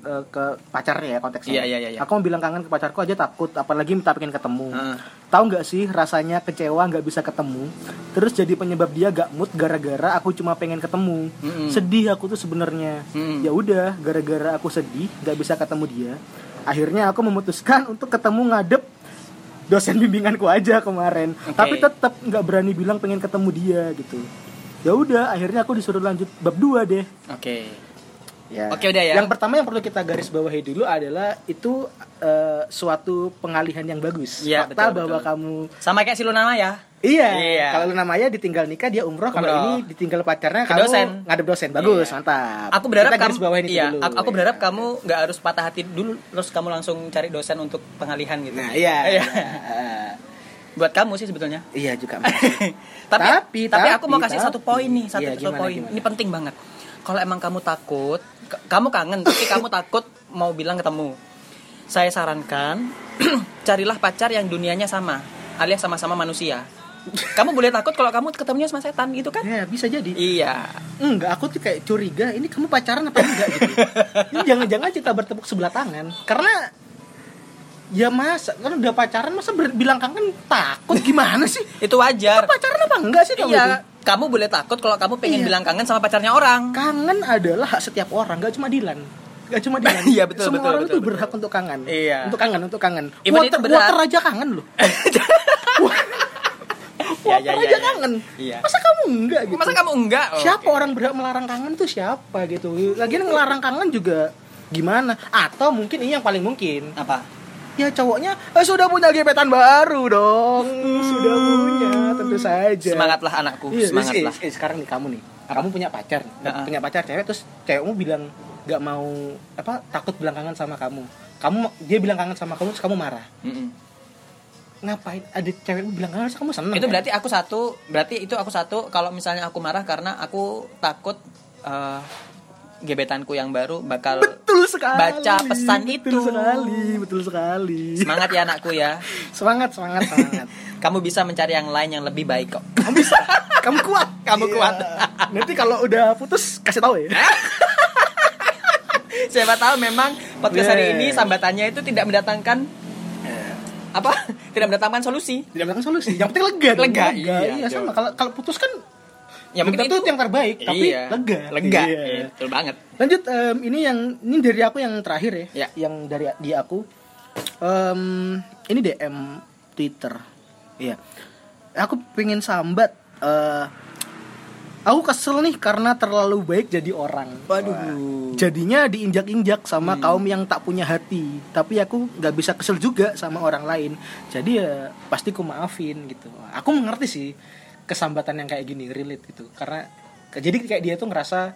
[SPEAKER 1] eh, ke pacarnya ya konteksnya.
[SPEAKER 2] Iya, iya, iya, Hmm. iya.
[SPEAKER 1] Aku mau bilang kangen ke pacarku aja takut, apalagi minta pengen ketemu.
[SPEAKER 2] Heeh.
[SPEAKER 1] Tahu nggak sih rasanya kecewa nggak bisa ketemu, terus jadi penyebab dia gak mood gara-gara aku cuma pengen ketemu.
[SPEAKER 2] Mm-mm.
[SPEAKER 1] Sedih aku tuh sebenarnya.
[SPEAKER 2] Mm-mm.
[SPEAKER 1] Ya udah, gara-gara aku sedih nggak bisa ketemu dia. Akhirnya aku memutuskan untuk ketemu ngadep dosen bimbinganku aja kemarin.
[SPEAKER 2] Oke.
[SPEAKER 1] Tapi tetap nggak berani bilang pengen ketemu dia gitu. Ya udah, akhirnya aku disuruh lanjut bab 2 deh.
[SPEAKER 2] Oke.
[SPEAKER 1] Ya.
[SPEAKER 2] Oke, udah ya.
[SPEAKER 1] Yang pertama yang perlu kita garis bawahi dulu adalah itu eh, suatu pengalihan yang bagus.
[SPEAKER 2] Iya,
[SPEAKER 1] Fakta
[SPEAKER 2] betul,
[SPEAKER 1] bahwa
[SPEAKER 2] betul.
[SPEAKER 1] kamu
[SPEAKER 2] Sama kayak si Luna Maya.
[SPEAKER 1] Iya.
[SPEAKER 2] Iya.
[SPEAKER 1] Kalau lu namanya ditinggal nikah dia umroh, kalau
[SPEAKER 2] Umroh.
[SPEAKER 1] ini ditinggal pacarnya
[SPEAKER 2] Ke
[SPEAKER 1] kamu
[SPEAKER 2] dosen.
[SPEAKER 1] ngadep dosen. Bagus,
[SPEAKER 2] Iya.
[SPEAKER 1] mantap.
[SPEAKER 2] Aku berharap
[SPEAKER 1] Kita garis
[SPEAKER 2] kamu
[SPEAKER 1] bawahin itu
[SPEAKER 2] iya,
[SPEAKER 1] dulu.
[SPEAKER 2] aku, aku
[SPEAKER 1] Iya.
[SPEAKER 2] berharap kamu nggak harus patah hati dulu terus kamu langsung cari dosen untuk pengalihan gitu.
[SPEAKER 1] Nah, iya.
[SPEAKER 2] Iya.
[SPEAKER 1] Iya,
[SPEAKER 2] Buat kamu sih sebetulnya.
[SPEAKER 1] Iya juga.
[SPEAKER 2] tapi, tapi
[SPEAKER 1] Tapi-
[SPEAKER 2] aku mau
[SPEAKER 1] tapi-
[SPEAKER 2] kasih satu
[SPEAKER 1] tapi.
[SPEAKER 2] poin nih, satu,
[SPEAKER 1] Iya,
[SPEAKER 2] satu
[SPEAKER 1] gimana,
[SPEAKER 2] poin.
[SPEAKER 1] gimana?
[SPEAKER 2] Ini penting banget. Kalau emang kamu takut, k- kamu kangen tapi kamu takut mau bilang ketemu. Saya sarankan carilah pacar yang dunianya sama, alias sama-sama manusia. Kamu boleh takut kalau kamu ketemunya sama setan gitu kan?
[SPEAKER 1] Ya, bisa jadi.
[SPEAKER 2] Iya.
[SPEAKER 1] Enggak, aku tuh kayak curiga ini kamu pacaran apa enggak gitu. Ini jangan-jangan kita bertepuk sebelah tangan. Karena ya masa kan udah pacaran masa ber- bilang kangen takut gimana sih?
[SPEAKER 2] Itu wajar.
[SPEAKER 1] Pacaran apa enggak sih kamu?
[SPEAKER 2] Iya,
[SPEAKER 1] itu?
[SPEAKER 2] kamu boleh takut kalau kamu
[SPEAKER 1] Iya.
[SPEAKER 2] pengen bilang kangen sama pacarnya orang.
[SPEAKER 1] Kangen adalah hak setiap orang, enggak cuma Dilan. Gak cuma dia.
[SPEAKER 2] Iya, betul,
[SPEAKER 1] Semua
[SPEAKER 2] betul,
[SPEAKER 1] orang
[SPEAKER 2] betul,
[SPEAKER 1] itu berhak untuk kangen.
[SPEAKER 2] Iya.
[SPEAKER 1] Untuk kangen, untuk kangen.
[SPEAKER 2] Even
[SPEAKER 1] water,
[SPEAKER 2] itu berat.
[SPEAKER 1] water aja kangen loh.
[SPEAKER 2] Iya,
[SPEAKER 1] water
[SPEAKER 2] iya, iya,
[SPEAKER 1] aja
[SPEAKER 2] iya.
[SPEAKER 1] kangen.
[SPEAKER 2] Iya.
[SPEAKER 1] Masa kamu enggak gitu?
[SPEAKER 2] Masa kamu enggak? Oh,
[SPEAKER 1] siapa
[SPEAKER 2] oke.
[SPEAKER 1] orang berhak melarang kangen tuh siapa gitu? Lagian ngelarang kangen juga gimana? Atau mungkin ini yang paling mungkin.
[SPEAKER 2] Apa?
[SPEAKER 1] Ya cowoknya eh, sudah punya gebetan baru dong.
[SPEAKER 2] Hmm.
[SPEAKER 1] Sudah punya tentu saja.
[SPEAKER 2] Semangatlah anakku,
[SPEAKER 1] Iya,
[SPEAKER 2] semangatlah.
[SPEAKER 1] eh, eh, sekarang nih kamu nih. Kamu punya pacar,
[SPEAKER 2] Nah,
[SPEAKER 1] punya pacar cewek terus cewekmu bilang nggak mau apa takut bilang kangen sama kamu. Kamu dia bilang kangen sama kamu terus kamu marah.
[SPEAKER 2] Mm-mm.
[SPEAKER 1] Ngapain ada cewekmu bilang kangen terus kamu seneng?
[SPEAKER 2] Itu
[SPEAKER 1] kan?
[SPEAKER 2] berarti aku satu, berarti itu aku satu kalau misalnya aku marah karena aku takut eh, gebetanku yang baru bakal
[SPEAKER 1] betul sekali.
[SPEAKER 2] baca pesan
[SPEAKER 1] betul
[SPEAKER 2] itu.
[SPEAKER 1] sekali, betul sekali.
[SPEAKER 2] semangat ya anakku ya.
[SPEAKER 1] Semangat, semangat, semangat.
[SPEAKER 2] Kamu bisa mencari yang lain yang lebih baik kok.
[SPEAKER 1] kamu bisa, kamu kuat,
[SPEAKER 2] Kamu
[SPEAKER 1] Iya.
[SPEAKER 2] kuat.
[SPEAKER 1] Nanti kalau udah putus kasih tahu ya.
[SPEAKER 2] Eh? Siapa tahu memang podcast hari
[SPEAKER 1] Yeah.
[SPEAKER 2] ini sambatannya itu tidak mendatangkan apa? Tidak mendatangkan solusi.
[SPEAKER 1] Tidak bilang solusi, yang penting lega. dong,
[SPEAKER 2] Lega, iya,
[SPEAKER 1] iya, sama.
[SPEAKER 2] betul.
[SPEAKER 1] Kalau kalau putus kan
[SPEAKER 2] Ya mungkin
[SPEAKER 1] tentu
[SPEAKER 2] itu
[SPEAKER 1] yang terbaik, tapi
[SPEAKER 2] Iya.
[SPEAKER 1] lega,
[SPEAKER 2] Lega.
[SPEAKER 1] Iya.
[SPEAKER 2] Iya, Betul banget.
[SPEAKER 1] Lanjut em, ini yang ini dari aku yang terakhir ya,
[SPEAKER 2] Ya.
[SPEAKER 1] yang dari di aku. Em, ini DM Twitter. Iya. Aku pengen sambat eh, aku kesel nih karena terlalu baik jadi orang.
[SPEAKER 2] Waduh.
[SPEAKER 1] Jadinya diinjak-injak
[SPEAKER 2] Hmm.
[SPEAKER 1] sama kaum yang tak punya hati. Tapi aku nggak bisa kesel juga sama orang lain. Jadi ya pasti ku maafin gitu. Aku mengerti sih kesambatan yang kayak gini relate gitu. Karena ke- jadi kayak dia tuh ngerasa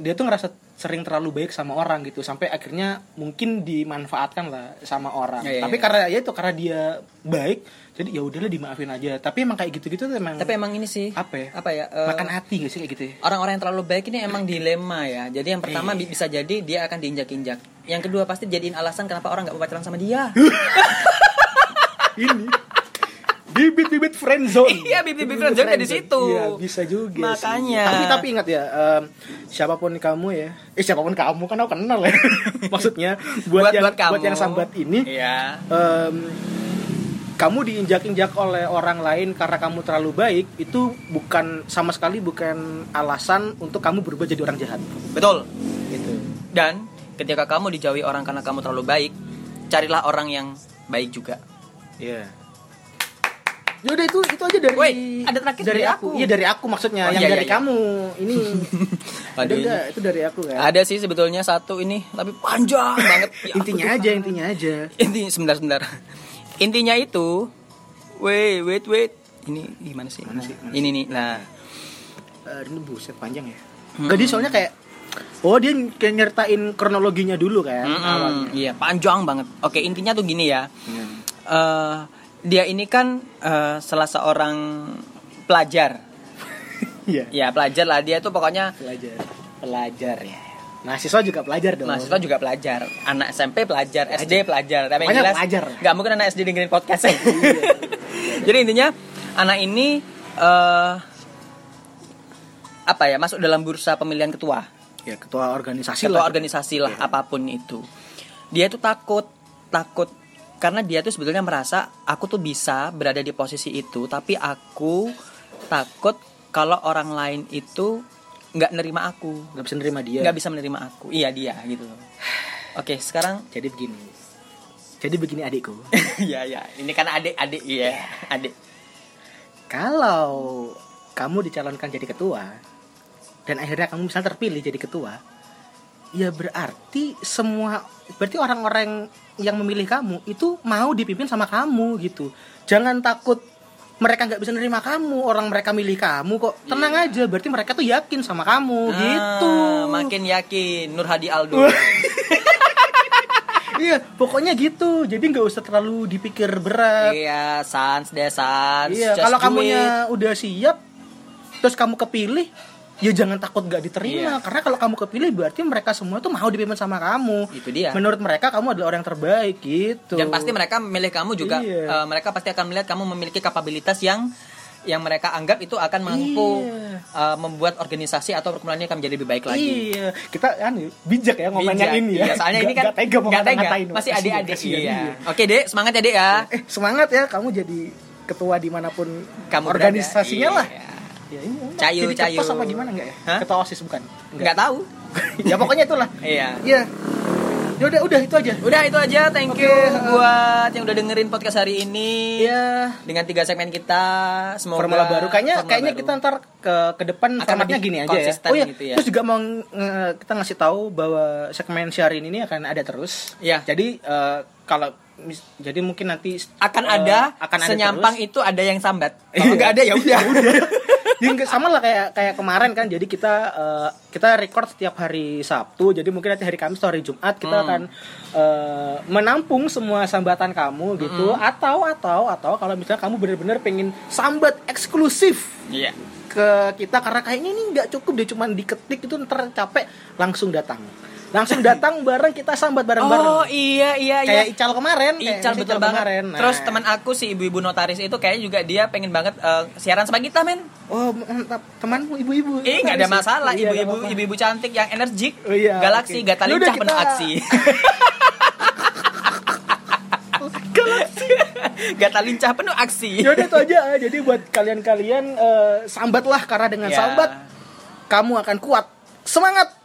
[SPEAKER 1] dia tuh ngerasa sering terlalu baik sama orang gitu sampai akhirnya mungkin dimanfaatkan lah sama orang.
[SPEAKER 2] Ya, ya,
[SPEAKER 1] tapi
[SPEAKER 2] ya.
[SPEAKER 1] karena ya itu karena dia baik, jadi ya udahlah dimaafin aja. Tapi emang kayak gitu-gitu tuh emang
[SPEAKER 2] Tapi emang ini sih
[SPEAKER 1] apa ya?
[SPEAKER 2] Apa ya? eh,
[SPEAKER 1] makan hati gak sih kayak gitu ya?
[SPEAKER 2] orang-orang yang terlalu baik ini emang dilema ya. Jadi yang
[SPEAKER 1] Iya.
[SPEAKER 2] pertama bi- bisa jadi dia akan diinjak-injak. Yang kedua pasti jadiin alasan kenapa orang nggak mau pacaran sama dia.
[SPEAKER 1] ini bibit-bibit friendzone
[SPEAKER 2] Iya, bibit-bibit friendzone ada di situ.
[SPEAKER 1] Iya, bisa juga sih.
[SPEAKER 2] Makanya.
[SPEAKER 1] tapi tapi ingat ya em, siapapun kamu ya eh siapapun kamu kan aku kenal ya maksudnya buat, yang buat yang sambat ini
[SPEAKER 2] Iya.
[SPEAKER 1] em, kamu diinjak-injak oleh orang lain karena kamu terlalu baik itu bukan sama sekali bukan alasan untuk kamu berubah jadi orang jahat
[SPEAKER 2] Betul.
[SPEAKER 1] gitu
[SPEAKER 2] Dan ketika kamu dijauhi orang karena kamu terlalu baik, carilah orang yang baik juga.
[SPEAKER 1] Iya. Yaudah Ya itu itu aja dari
[SPEAKER 2] Woi, ada terakhir
[SPEAKER 1] dari
[SPEAKER 2] dari
[SPEAKER 1] aku.
[SPEAKER 2] aku.
[SPEAKER 1] Iya dari aku maksudnya,
[SPEAKER 2] Oh,
[SPEAKER 1] yang
[SPEAKER 2] iya, iya,
[SPEAKER 1] dari
[SPEAKER 2] iya.
[SPEAKER 1] kamu. Ini Udah,
[SPEAKER 2] Aduh,
[SPEAKER 1] udah, itu dari aku kan.
[SPEAKER 2] Ada sih sebetulnya satu ini, tapi panjang banget. Ya, aku
[SPEAKER 1] intinya
[SPEAKER 2] tuh-
[SPEAKER 1] aja, intinya aja.
[SPEAKER 2] Intinya sebentar sebentar. Intinya itu, wait wait wait. Ini gimana sih?
[SPEAKER 1] Mana sih? Mana
[SPEAKER 2] ini nih. Nah,
[SPEAKER 1] Eh, ini buset panjang ya. Enggak dia soalnya kayak Oh dia kayak nyertain kronologinya dulu kan
[SPEAKER 2] Mm-mm,
[SPEAKER 1] awalnya.
[SPEAKER 2] iya panjang banget. Oke intinya tuh gini ya. Eh, dia ini kan eh, salah seorang pelajar.
[SPEAKER 1] Iya.
[SPEAKER 2] Ya pelajar lah dia tuh pokoknya
[SPEAKER 1] Pelajar. Pelajar ya. Mahasiswa juga pelajar dong.
[SPEAKER 2] mahasiswa juga pelajar, anak SMP pelajar, SD pelajar. Tapi yang
[SPEAKER 1] Pokoknya
[SPEAKER 2] jelas
[SPEAKER 1] pelajar. Iya.
[SPEAKER 2] nggak mungkin anak SD dengerin podcast Jadi intinya anak ini eh apa ya masuk dalam bursa pemilihan ketua,
[SPEAKER 1] ya ketua organisasi
[SPEAKER 2] ketua
[SPEAKER 1] lah.
[SPEAKER 2] organisasi lah apapun itu. Dia tuh takut, takut karena dia tuh sebetulnya merasa aku tuh bisa berada di posisi itu, tapi aku takut kalau orang lain itu nggak nerima aku
[SPEAKER 1] Nggak bisa nerima dia.
[SPEAKER 2] nggak bisa menerima aku iya dia gitu loh oke sekarang
[SPEAKER 1] Jadi begini. Jadi begini adikku.
[SPEAKER 2] iya iya ini kan adik adik iya adik
[SPEAKER 1] kalau kamu dicalonkan jadi ketua dan akhirnya kamu misalnya terpilih jadi ketua ya berarti semua berarti orang-orang yang memilih kamu itu mau dipimpin sama kamu gitu jangan takut mereka nggak bisa nerima kamu orang mereka milih kamu kok tenang aja berarti mereka tuh yakin sama kamu gitu
[SPEAKER 2] Ah, makin yakin Nur Hadi Aldo
[SPEAKER 1] iya pokoknya gitu jadi nggak usah terlalu dipikir berat
[SPEAKER 2] iya sans deh sans
[SPEAKER 1] Iya,
[SPEAKER 2] just
[SPEAKER 1] kalau
[SPEAKER 2] do it.
[SPEAKER 1] kamunya udah siap, terus kamu kepilih, ya jangan takut gak diterima.
[SPEAKER 2] Iya.
[SPEAKER 1] Karena kalau kamu kepilih berarti mereka semua tuh mau dipimpin sama kamu.
[SPEAKER 2] Itu dia.
[SPEAKER 1] Menurut mereka kamu adalah orang yang terbaik gitu.
[SPEAKER 2] dan pasti mereka memilih kamu juga
[SPEAKER 1] Iya.
[SPEAKER 2] eh, mereka pasti akan melihat kamu memiliki kapabilitas yang yang mereka anggap itu akan mampu
[SPEAKER 1] Iya.
[SPEAKER 2] eh, membuat organisasi atau perkumpulannya akan menjadi lebih baik lagi
[SPEAKER 1] Iya, kita kan bijak ya ngomongnya
[SPEAKER 2] Bijak.
[SPEAKER 1] ini ya.
[SPEAKER 2] Iya, soalnya ini kan
[SPEAKER 1] Gak tega mau
[SPEAKER 2] nggak tega.
[SPEAKER 1] ngata-ngatain.
[SPEAKER 2] masih
[SPEAKER 1] Kasihan,
[SPEAKER 2] adik-adik
[SPEAKER 1] kasihan,
[SPEAKER 2] iya.
[SPEAKER 1] iya.
[SPEAKER 2] oke dek semangat ya dek ya
[SPEAKER 1] Eh, semangat ya kamu jadi ketua dimanapun
[SPEAKER 2] kamu berada.
[SPEAKER 1] organisasinya lah.
[SPEAKER 2] Iya.
[SPEAKER 1] Ya, ini,
[SPEAKER 2] Cayu,
[SPEAKER 1] jadi ketua
[SPEAKER 2] cayu.
[SPEAKER 1] apa gimana enggak ya?
[SPEAKER 2] Hah?
[SPEAKER 1] Ketua OSIS bukan?
[SPEAKER 2] nggak tahu
[SPEAKER 1] ya pokoknya itulah.
[SPEAKER 2] Iya.
[SPEAKER 1] Iya. Ya udah udah itu aja.
[SPEAKER 2] Udah itu aja, thank you buat yang udah dengerin podcast hari ini.
[SPEAKER 1] Iya.
[SPEAKER 2] Dengan tiga segmen kita, semoga
[SPEAKER 1] Formula baru kayaknya
[SPEAKER 2] formula
[SPEAKER 1] kayaknya
[SPEAKER 2] baru.
[SPEAKER 1] kita ntar ke ke depan
[SPEAKER 2] Akan
[SPEAKER 1] formatnya
[SPEAKER 2] lebih
[SPEAKER 1] gini aja ya.
[SPEAKER 2] konsisten
[SPEAKER 1] Oh iya.
[SPEAKER 2] gitu ya.
[SPEAKER 1] Terus juga mau nge- kita ngasih tahu bahwa segmen syahrin ini akan ada terus.
[SPEAKER 2] Iya.
[SPEAKER 1] Jadi eh, kalau mis- jadi mungkin nanti
[SPEAKER 2] akan
[SPEAKER 1] eh,
[SPEAKER 2] ada
[SPEAKER 1] akan ada
[SPEAKER 2] senyampang
[SPEAKER 1] terus.
[SPEAKER 2] itu ada yang sambat. Kalau nggak ada ya udah.
[SPEAKER 1] Ya, nggak- sama lah kayak kayak kemarin kan. Jadi kita eh, kita record setiap hari Sabtu. Jadi mungkin nanti hari Kamis atau hari Jumat kita
[SPEAKER 2] Hmm.
[SPEAKER 1] akan eh, menampung semua sambatan kamu gitu.
[SPEAKER 2] Hmm.
[SPEAKER 1] Atau atau atau kalau misalnya kamu benar-benar pengen sambat eksklusif
[SPEAKER 2] Iya.
[SPEAKER 1] ke kita karena kayaknya ini nggak cukup dia cuma diketik itu ntar capek langsung datang langsung datang bareng kita sambat bareng-bareng
[SPEAKER 2] Oh iya iya iya.
[SPEAKER 1] kayak Ical kemarin kayak
[SPEAKER 2] Ical
[SPEAKER 1] si
[SPEAKER 2] betul banget.
[SPEAKER 1] kemarin. Nah.
[SPEAKER 2] Terus teman aku si ibu-ibu notaris itu kayaknya juga dia pengen banget eh, siaran sama kita men.
[SPEAKER 1] oh mantap temanmu ibu-ibu
[SPEAKER 2] Eh nggak ada
[SPEAKER 1] Iya,
[SPEAKER 2] masalah
[SPEAKER 1] nggak
[SPEAKER 2] ibu-ibu
[SPEAKER 1] apa-apa.
[SPEAKER 2] ibu-ibu cantik yang energik,
[SPEAKER 1] Oh, iya,
[SPEAKER 2] galaksi
[SPEAKER 1] oke.
[SPEAKER 2] gata
[SPEAKER 1] Ya udah,
[SPEAKER 2] lincah
[SPEAKER 1] kita-
[SPEAKER 2] penuh aksi.
[SPEAKER 1] Galaksi.
[SPEAKER 2] gata lincah penuh aksi.
[SPEAKER 1] Yaudah itu aja jadi buat kalian-kalian eh, sambatlah karena dengan
[SPEAKER 2] Ya.
[SPEAKER 1] sambat kamu akan kuat semangat